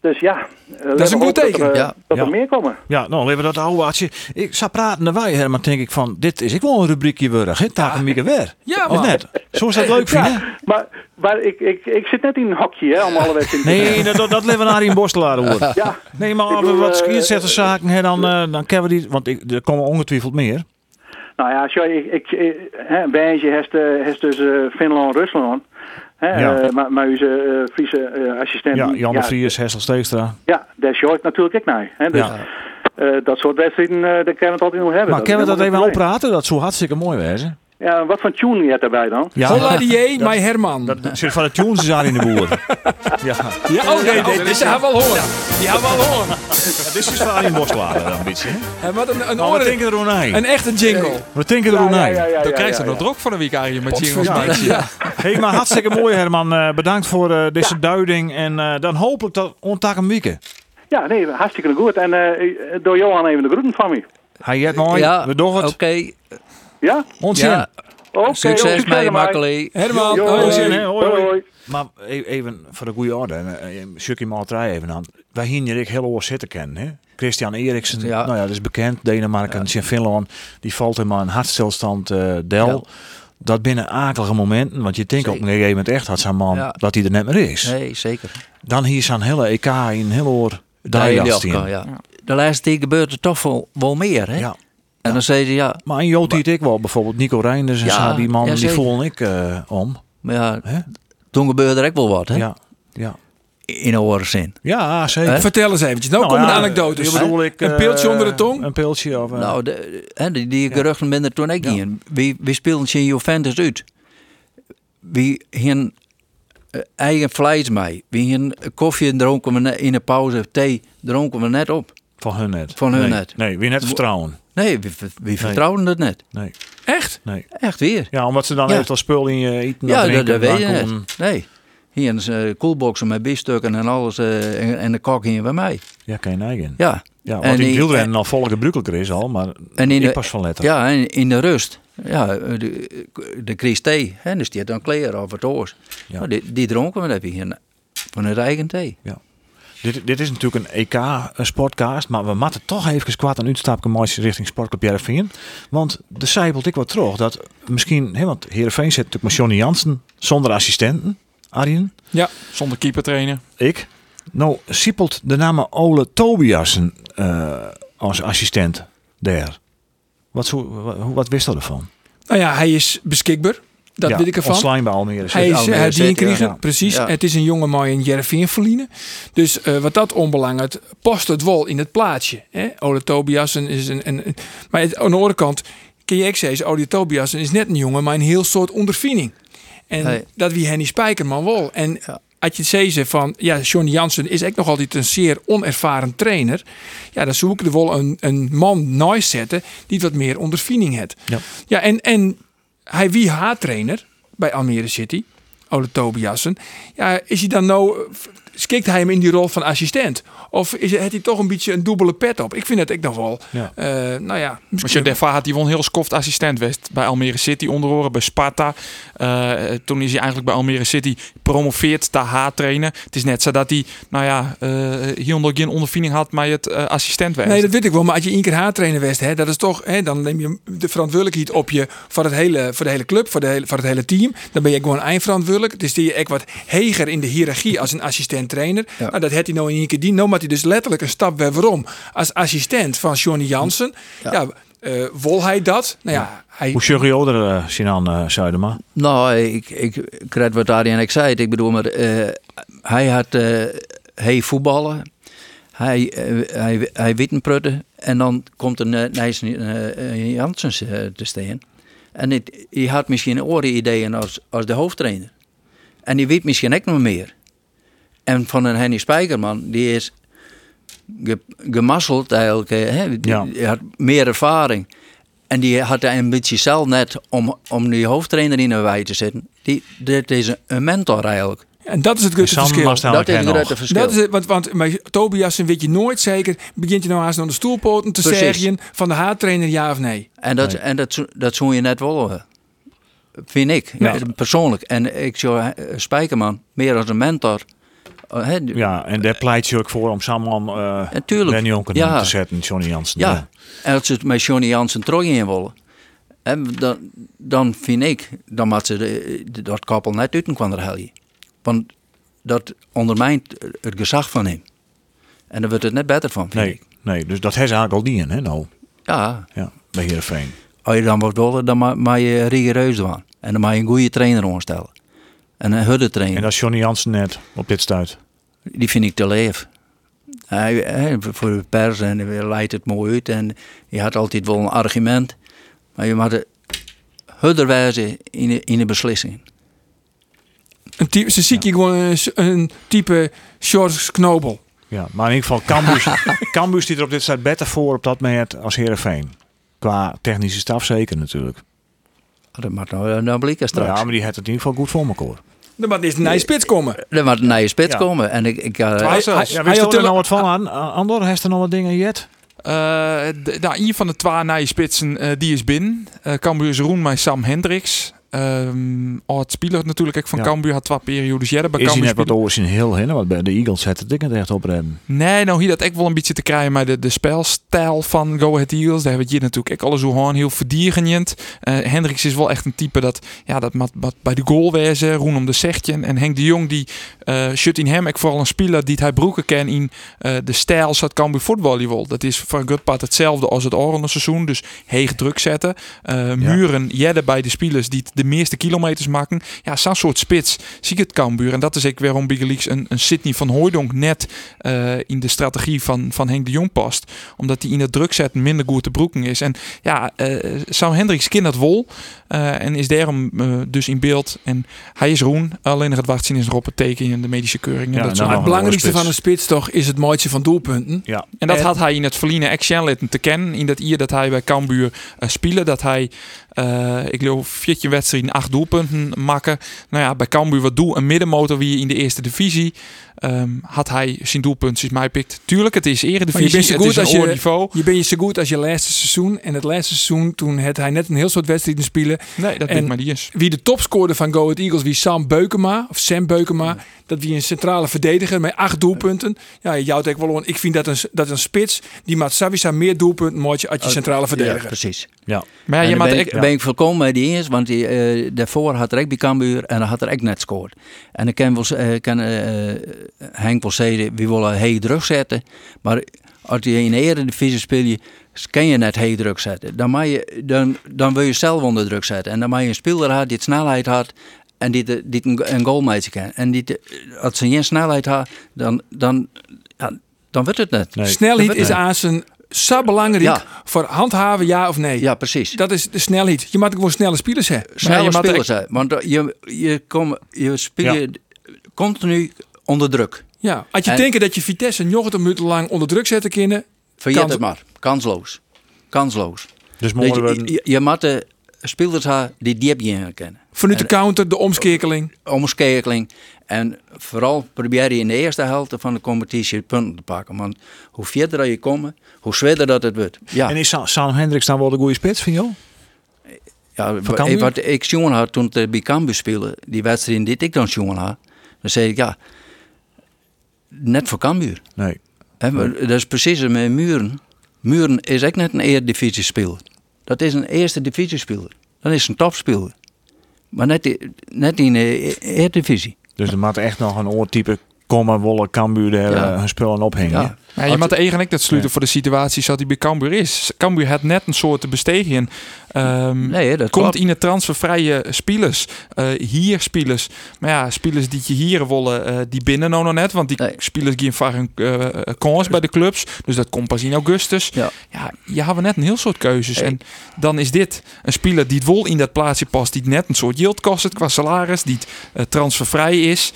Dus ja, eh, laten een we goed hopen teken. Dat er, Ja. dat er Ja. meer komen. Ja, nou, hebben we dat oude watje. Ik zat praten naar wij, Herman, denk ik van, dit is ik wel een rubriekje wurg, hè? Taken en Mieke weer. Ja, Of man. net? Zo is dat leuk, Ja, vinden. maar, maar ik, ik, ik zit net in een hokje hè, om alle wedstrijden te Nee, dat, dat, dat leven naar in Borstelaar hoor. Ja, Nee, maar Ik als we bedoel, wat eh, schierzechterszaken hebben, dan, eh, dan kennen we die. Want ik, er komen ongetwijfeld meer. Nou ja, sorry, ik, ik, eh, hè, bij je heeft, eh, heeft dus eh, Finland, Rusland. Hè, Ja. eh, maar, maar onze eh, Friese eh, assistent. Ja, Jan de ja, Vries, Hessel Steekstra. ja, daar sjoe ik natuurlijk ook naar. Hè, dus, Ja. eh, dat soort wedstrijden, eh, daar kunnen we het altijd nog hebben. Maar kunnen we dat is even helemaal geen oppraten? Dat zou hartstikke mooi wezen. probleem. Ja, wat voor tune je hebt daarbij dan? Ja, Holla die jee, mij Herman. dat zit van de tunes is aan in de [laughs] boer. Ja, ja, oh nee, dit is haar wel horen. Die hebben we al horen. dit is dus van Arie Borstelaar dan een beetje. hè? En wat een, een Nou, Maar we oren- denken er ook Een aan. echte jingle. We denken er ook aan. ja, Dan krijg ja, je nog ja. druk van een week, Arjen, met jingles. Ja, niks. ja. Hey, maar hartstikke mooi Herman. Eh, bedankt voor eh, deze duiding. En eh, dan hopelijk dat ontaken Mieke. Ja, nee, hartstikke goed. En eh, door Johan even de groeten van me. Hij het mooi. ja, Oh. we doen Oké, het. ja? Ons ja. Oké, Succes mee, ermee. Makkeli. Herman, Jo, oh, jo, jee. hè? Hoi, Hoi, hoi. hoi. Maar e- even voor de goede orde, eh, eh, Sjukkie Maltrij even aan. Wij hier hier ik heel oor zitten kennen. Hè? Christian Eriksen, Ja. nou ja, dat is bekend. Denemarken, ja. Finland, die valt helemaal in hartstilstand eh del. Ja. Dat binnen akelige momenten, want je denkt ook op een Zeker. gegeven moment echt had zijn man Ja. dat hij er net meer is. Nee, zeker. Dan hier zijn hele EK in heel oor Ja, Dijlast Ilja, in. Ja. ja. De laatste tijd gebeurt er toch wel, wel meer, hè? Ja. En dan zei ze, ja, Maar een Jood die ik wel, bijvoorbeeld Nico Reinders en Ja, zo, die man, ja, die zeker. voel ik eh, om. maar ja, Hè? toen gebeurde er ook wel wat, hè? Ja, ja. In een oren zin. ja, zeker. Hè? Vertel eens eventjes. Nou, Nou komen de ja, anekdotes. ik bedoel, ik, een eh, piltje onder de tong. Een piltje of... eh, Nou, de, hè, die, die geruchten minder toen ik ging. Wie, wie speelden ze in Juventus uit? Wie hun eh, eigen vlees mee? Wie hun koffie dronken we net- in de pauze, of thee dronken we net op? Van hun net. Van hun nee. net. Nee, weer net vertrouwen. Nee, wie, wie vertrouwden het net? Nee, Echt? nee. Echt weer. Ja, omdat ze dan Ja. heeft al spul in je eten. Ja, dat, drinken, dat weet je drank om- net. Nee. Hier een eh, koelboxen met biefstukken en alles. eh, en, en de kok hier bij mij. Ja, geen eigen. Ja, Ja. want en in die- wielrennen al volk gebruikelijker is al, maar En in ik de- pas van letter. Ja, en in de rust. Ja, eh, de, de Christé, hè, dus die had dan kleren of het oors. Ja. Nou, die, die dronken we, dat heb je hier van het eigen thee. Dit, dit is natuurlijk een EK-sportcast, maar we matten toch even kwaad een uitstapje moois richting Sportclub Heerenveen. Want de zijpelt ik wat terug dat misschien, hè, want Heerenveen zit natuurlijk met Johnny Jansen zonder assistenten, Arjen. Ja. Zonder keeper trainen. Ik? Nou, siepelt de naam Ole Tobiasen eh, als assistent daar. Wat, zo, wa- hoe- wat wist dat ervan? Nou ja, hij is beschikbaar. Dat Ja, weet ik ervan. Ontslaan bij Almere. Hij City. is Almere hij die City, inkregen, ja. precies. Oh, Ja. Het is een jongen mooi in Jervin verliezen. Dus eh, wat dat onbelangt, past het wel in het plaatsje. Hè? Ole Tobiasen is een, een, een- Maar het- aan de andere kant, kun je ook zeggen, Ole Tobiasen is net een jongen, maar een heel soort ondervinding. En Hey. dat wie Henny Spijkerman wel. En Ja. had je het ze van, ja, Johnny Jansen is echt nog altijd een zeer onervaren trainer. Ja, dan zoek ik er wel een, een man naast zetten die wat meer ondervinding heeft. Ja. Ja, en, en hij wie haar trainer bij Almere City, Ole Tobiasen. Ja, is hij dan nou, eh, schikt hij hem in die rol van assistent? Of is, heeft hij toch een beetje een dubbele pet op? Ik vind dat ik nog wel, Ja. eh, nou ja, Als je misschien... daarvoor had hij wel een heel skoft assistent west bij Almere City onder oren, bij Sparta. Eh, eh, toen is hij eigenlijk bij Almere City promoveerd daar haar trainen. Het is net zo dat hij, nou ja, eh hier onder geen ondervinding had, maar het eh, assistent werd. Nee, dat weet ik wel. Maar als je één keer haartrainer west, hè, dat is toch, hè, dan neem je de verantwoordelijkheid op je voor, het hele, voor de hele club, voor, de hele, voor het hele team. Dan ben je gewoon eindverantwoordelijk. Dus die je echt wat heger in de hiërarchie als een assistent trainer. Ja. Nou, dat had hij nou in één keer die. Nou, maakt hij dus letterlijk een stap weer waarom. Als assistent van Johnny Jansen. Ja. eh, wil hij dat? Nou ja, hij, Hoe zorg je er, eh, Sinan eh, Zuidema? Nou, ik, ik krijg wat Arjen ik zei. het. Ik bedoel, maar eh, hij had eh, hij voetballen, hij, eh, hij, hij wittenprutten en dan komt een uh, Nijs eh, Janssens eh, te staan. En het, hij had misschien andere ideeën als, als de hoofdtrainer. En die weet misschien ook nog meer. En van een Henny Spijkerman, die is ge, gemasseld eigenlijk. eh, Hè? Die, Ja. die had meer ervaring. En die had de ambitie zelf net om, om die hoofdtrainer in een wij te zetten. Die, dit is een- een mentor eigenlijk. en dat is het grote Sam was verschil. daar dat is ook het nog. grote verschil. Dat is het, want, want maar Tobias weet je nooit zeker. Begint je nou haast aan de stoelpoten te Precies. zeggen van de haattrainer ja of nee? En dat, en dat, zo- dat zou je net willen. Vind ik, eh, persoonlijk. En ik zou eh, Spijkerman meer als een mentor. eh, hè, d- Ja, en daar pleit je ook voor om Samman eh Ja, tuurlijk. Ben Jonker Ja. te zetten, Johnny Jansen. Ja, en als ze het met Johnny Jansen Troy in willen, hè, dan, dan vind ik dan moet ze de- de- dat koppel net uit kwam helje. Want dat ondermijnt het gezag van hem. En daar wordt het net beter van, vind Nee, ik. nee, dus dat is eigenlijk al die in, hè, nou. Ja, Ja, bij Heerenveen. als je dan wordt willen, dan ma- mag je rigoureus doen. En dan mag je een goede trainer aanstellen. En een hudde trainer. En dat is Johnny Jansen net op dit stuit. die vind ik te leef. Hij, hij- voor de pers en hij leidt het mooi uit. En je had altijd wel een argument. Maar je moet hudder wijzen in de, in de beslissing. Een type, ze ziet je gewoon een, een type George Knobel. Ja, maar in ieder geval Cambuur, Cambuur die er op dit stuit beter voor op dat moment als Heerenveen. Qua technische staf zeker natuurlijk. Dat moet nou, nou blijken straks. Ja, maar die had het in ieder geval goed voor elkaar. Nou, Dan moet eerst een nieuwe eh, spits komen. Er moet een nieuwe spits Ja. komen. En ik, ik, eh, Twa- Hij- zelfs. hij- Ja, hij wist had je er nou tele- wat van aan? Eh, Andor, heeft er nog wat dingen jet? Eh, d- nou, een van de twee nieuwe spitsen eh, die is binnen. Eh Cambuur is Roen maar Sam Hendricks. Ehm oud speler natuurlijk ook van Ja. Cambuur had twee periodes jaren bij Is hij Cambuur. net wat spelen. oors in heel hè? Want bij de Eagles had het ik net echt op redden. Nee, nou hier dat ik wel een beetje te krijgen maar de, de spelstijl van Go Ahead Eagles. Daar hebben we het hier natuurlijk ook alles hoe aan, heel verdierigend. Eh Hendricks is wel echt een type dat, ja, dat mat, mat bij de goal wezen, Roen om de zegtje. En Henk de Jong die eh shut in hem, ik vooral een speler die het hij broeken ken in eh, de stijl zat Cambuur voetballen. Dat is voor een goed part hetzelfde als het Oranje seizoen. Dus heeg druk zetten. Eh, Muren jedden bij de spelers die t- de meeste kilometers maken. Ja, zo'n soort spits zie ik het Cambuur. En dat is ik waarom Big Leaks een, een Sydney van Hooijdonk net eh, in de strategie van, van Henk de Jong past. Omdat hij in het druk zetten minder goed te broeken is. En ja, eh Sam Hendricks kind dat wol. eh, en is daarom eh, dus in beeld. En hij is roen. Alleen nog het wacht zien is erop het teken en de medische keuring. En Ja, dat nou, soort- Het een belangrijkste oorspits. van een spits toch is het mooitje van doelpunten. Ja, En dat En- had hij in het verliezen action litten te kennen. In dat jaar dat hij bij Cambuur eh spelen. Dat hij, eh, ik geloof, 14 wedstrijden acht doelpunten maken. Nou ja, bij Cambuur wat doe een middenmotor wie in de eerste divisie. ehm, had hij zijn doelpuntjes mij pikt. Tuurlijk, het is Maar je eredivisie. bent zo Het goed is een als je- hoog niveau. Je bent je zo goed als je laatste seizoen. En het laatste seizoen, toen had hij net een heel soort wedstrijden spelen. Nee, dat En- weet maar die eens. Wie de topscorer van Go Ahead Eagles, wie Sam Beukema, of Sam Beukema. Dat wie een centrale verdediger met acht doelpunten. Ja, je houdt ook wel aan. Ik vind dat een, dat een spits, die maakt Savisa meer doelpunten mooitje als je centrale Oh, Ja, verdediger. precies. ja. Maar ja, En je daar maakt ben, echt- ik, ben ik volkomen met die eens. Want die, eh, daarvoor had er echt bij Cambuur en dan had er echt net scoort. En ik kan, wel, z- eh, kan eh, eh, Henk wel zeggen, we willen heel druk zetten. Maar als je in de eredivisie speel je, kan je net heel druk zetten. Dan, mag je, dan, dan wil je zelf onder druk zetten. En dan mag je een speler had die het snelheid had. En die, de- die een, go- een goal mee kan. En die, de- als ze geen snelheid had, dan, dan, ja, dan wordt het net. Nee. Snelheid is Nee. aan zijn zo belangrijk Ja. voor handhaven, ja of nee. Ja, precies. Dat is de snelheid. Je maakt gewoon snelle spelers hebben. Maar snelle je moet spelers echt- zijn. Want eh, je, je, kom, je speel Ja. je continu onder druk. Ja. Als je En- denkt dat je Vitesse 90 minuten lang onder druk zetten kunnen, Vergeet Kans- het maar. Kansloos. Kansloos. Dus Weet morgen je, we... je, je moet de spelers hebben die diep je in kennen. vanuit de counter, de omskerkeling. Omskekeling. En vooral probeer je in de eerste helft van de competitie punten te pakken. Want hoe verder je komt, hoe zwaarder dat het wordt. Ja, En is Sa- Sam Hendricks dan wel de goede spits van jou? ja van ik, Cambuur? wat ik jongen had toen ik bij Cambuur speelde, die wedstrijd die ik dan jongen had, dan zei ik ja, net voor Cambuur. Nee. Hè, maar dat is precies het met Muren. Muren is ook net een eredivisiespeler. Dat is een eerste divisiespeler. Dat is een topspeler. Maar net, die- net in de e- eredivisie. Dus er moet echt nog een oortype komen, wollen Cambuur er Ja. eh, hun spullen ophangen. Ja. Ja, je moet eigenlijk dat sluiten voor de situatie zoals die bij Cambuur is. Cambuur had net een soort te bestegen. Ehm, Nee, dat komt klopt. in de transfervrije spelers. Eh, hier spelers. Maar ja, spelers die je hier willen, eh, die binnen nou nog net. Want die Nee. spelers gaan vaak een eh, eh, kans bij de clubs. Dus dat komt pas in augustus. Ja. ja je hebben net een heel soort keuzes. En dan is dit een speler die het wel in dat plaatsje past. Die het net een soort yield kost het qua salaris. Die het eh, transfervrij is.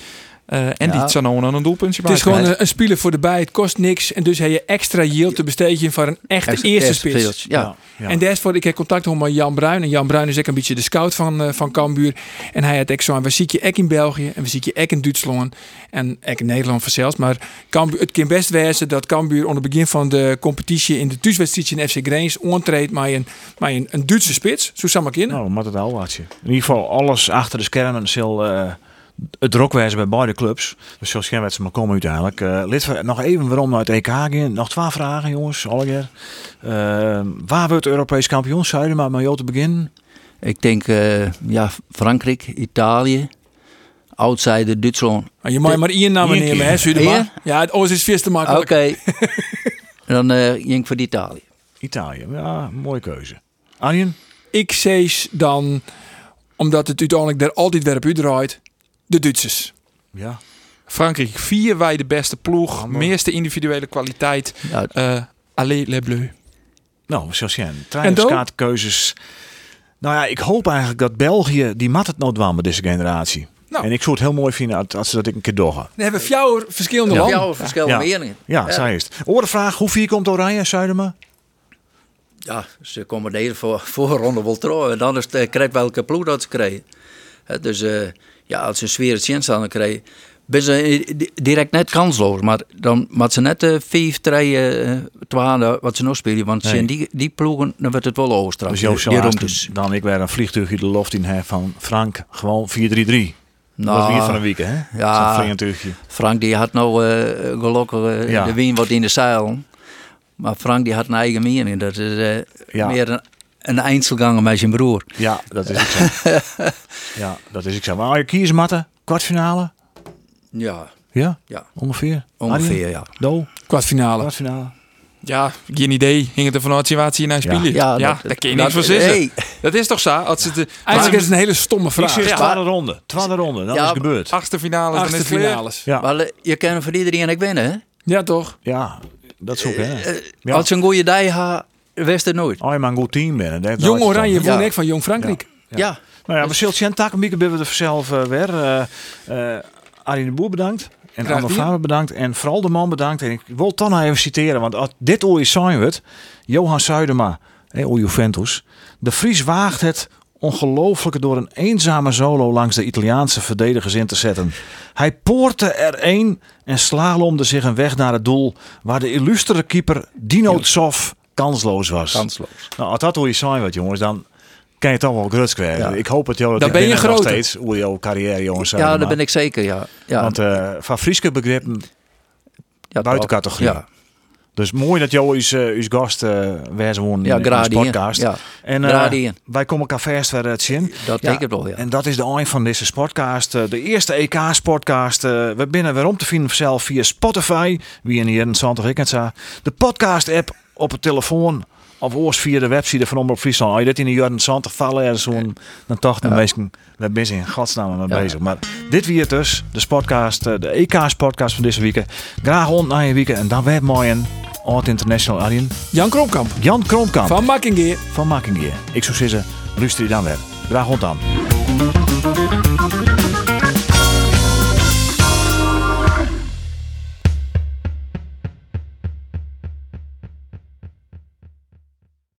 eh, en die Ja. het zo nou nog een doelpuntje Het is bijdraagt. gewoon een, een speler voor de bij. Het kost niks. En dus heb je extra yield te besteden voor een echte Echt- eerste echt spits. spits, Ja. Ja. En daarvoor, ik heb contact gehad met Jan Bruin. En Jan Bruin is ook een beetje de scout van, eh, van Cambuur. En hij had ook zo aan, we zien je ook in België. En we zien je ook in Duitsland. En ook in Nederland vanzelfs. Maar Cambuur, het kan best wezen dat Cambuur onder het begin van de competitie... in de thuiswedstrijd in FC Greens ontreedt met een, met een, een Duitse spits. Zo zou maar kunnen. Nou, maar dat al wat je. In ieder geval, alles achter de schermen zal eh, het rokwijzen bij beide clubs. Dus zoals ze maar komen uiteindelijk. Eh lid van- nog even waarom naar het EK gaan. Nog twee vragen, jongens. Alleger. Eh, waar wordt Europees kampioen? Zuiden, maar met jou te beginnen. Ik denk eh, ja, Frankrijk, Italië, outsider Duitsland. Maar Nou, je mag maar één naam Eén nemen, keer. hè, Sudema. Eén? Ja, het oors is vis te Oké. [laughs] maken. dan eh ging ik voor Italië. Italië. Ja, mooie keuze. Arjen? Ik zees dan, omdat het uiteindelijk daar altijd weer op u draait, de Duitsers. Ja. Frankrijk, vier wij de beste ploeg, meeste individuele kwaliteit. Ja, eh Allez les Bleus. Nou, zoals jij. Dan? Trainerskaartkeuzes. Nou ja, ik hoop eigenlijk dat België, die mat het noodwaan met deze generatie. Nou. En ik zou het heel mooi vinden als- als ze dat ik een keer doorgaan. Dan hebben we vier verschillende ja. landen. Jouw verschillende Ja. meningen. Ja, zij is het. Oren vraag, hoe vier komt Oranje, Zuidema? Ja, ze komen de hele voor, voorronde wel trouwen. Dan is het, eh, krijgt welke ploeg dat ze krijgen. Hè, dus eh, ja, als ze een zware chance aan krijgen, ben ze eh, di- direct net kansloos. Maar dan moet ze net eh, vijf, drie, eh, twaalf, wat ze nog spelen. Want Nee. zijn die, die ploegen, dan wordt het wel overstraft. Dus Joost Die- zal die haast rompjes. dan ik weer een vliegtuigje de loft in hè, van Frank. Gewoon 4-3-3. Dat was Nou, hier van een week, hè? ja. Zo'n vliegtuigje. Frank die had nou eh gelukkig eh, Ja. de wien wat in de zeil. Maar Frank die had een eigen mening. Dat is eh, Ja. meer een, een eindselganger met zijn broer. Ja, dat is ik zo. [laughs] ja, dat is ik zo. Maar kies matten, kwartfinale. Ja, Ja, ja ongeveer. ongeveer Arjen? ja. Do, Kwartfinale. kwartfinale. Ja, geen idee. Hing het er vanuit situatie in naar Ja. spelen. Ja, Ja, ja dat- daar kun je dat- niks van zeggen. nee. Dat is toch zo? Als het de Eigenlijk is achtste- het een hele stomme Ik vraag. zeg Ja. twaalfde ronde. Twaalfde ronde, dat Ja, is maar- gebeurd. achtste finale dan is Achtste het klaar. finales. Ja. Maar eh, je kan voor iedereen ik winnen, hè? Ja, toch? Ja, dat is ook, Eh, hè? Ja. Als je een goede dag had, wist het nooit. Als je maar een goed team bent. dat- dat Jong is het Oranje dan. won Ja. ik van Jong Frankrijk. Ja. Nou ja, we zullen zien. Taken Mieke ben we er vanzelf eh, weer. Eh, eh, Arie de Boer bedankt. En Anne gedaan. Faber bedankt. En vooral de man bedankt. En ik wil toch nog even citeren. Want als dit ooit zijn we het. Johan Zuidema. Hey, o Juventus. De Fries waagt het ongelooflijke door een eenzame solo langs de Italiaanse verdedigers in te zetten. Hij poorte er één en slalomde zich een weg naar het doel... waar de illustere keeper Dino Tsov kansloos was. Kansloos. Nou, als dat hoe je zijn wat jongens, dan kan je het allemaal grut kwijt. Ja. Ik hoop het, joh. dat Dan ik ben je binnen nog groter. steeds hoe jouw carrière, jongens. Ja, daar ben ik zeker, ja. ja. Want eh, van Frieske begrippen. ja, buiten toch. categorie. Ja, Dus mooi dat jou is, eh, is gast eh wezen worden ja in de gradien. podcast. Ja, En eh, Gradien. wij komen elkaar vast weer het zien. dat Ja. denk ik wel, ja. En dat is de eind van deze podcast. eh, De eerste EK-podcast. We binnen weer om te vinden zelf via Spotify. Wie in de jaren 20 ik het zo. De podcast-app op het telefoon. Of oors via de website van Omroep Friesland. Als je dit in de jaren 20 vallen ergens om, dan toch de mensen, daar ben je in godsnaam mee Ja. bezig. Maar dit weer het dus, de podcast, eh, de EK-podcast van deze week. Graag rond naar je week en dan weer mooi een Oud International Alien. Jan Kromkamp Jan Kromkamp van, van Makkingeer. van Makingeer. Ik zou zeggen, luister je dan weer. Graag rond aan.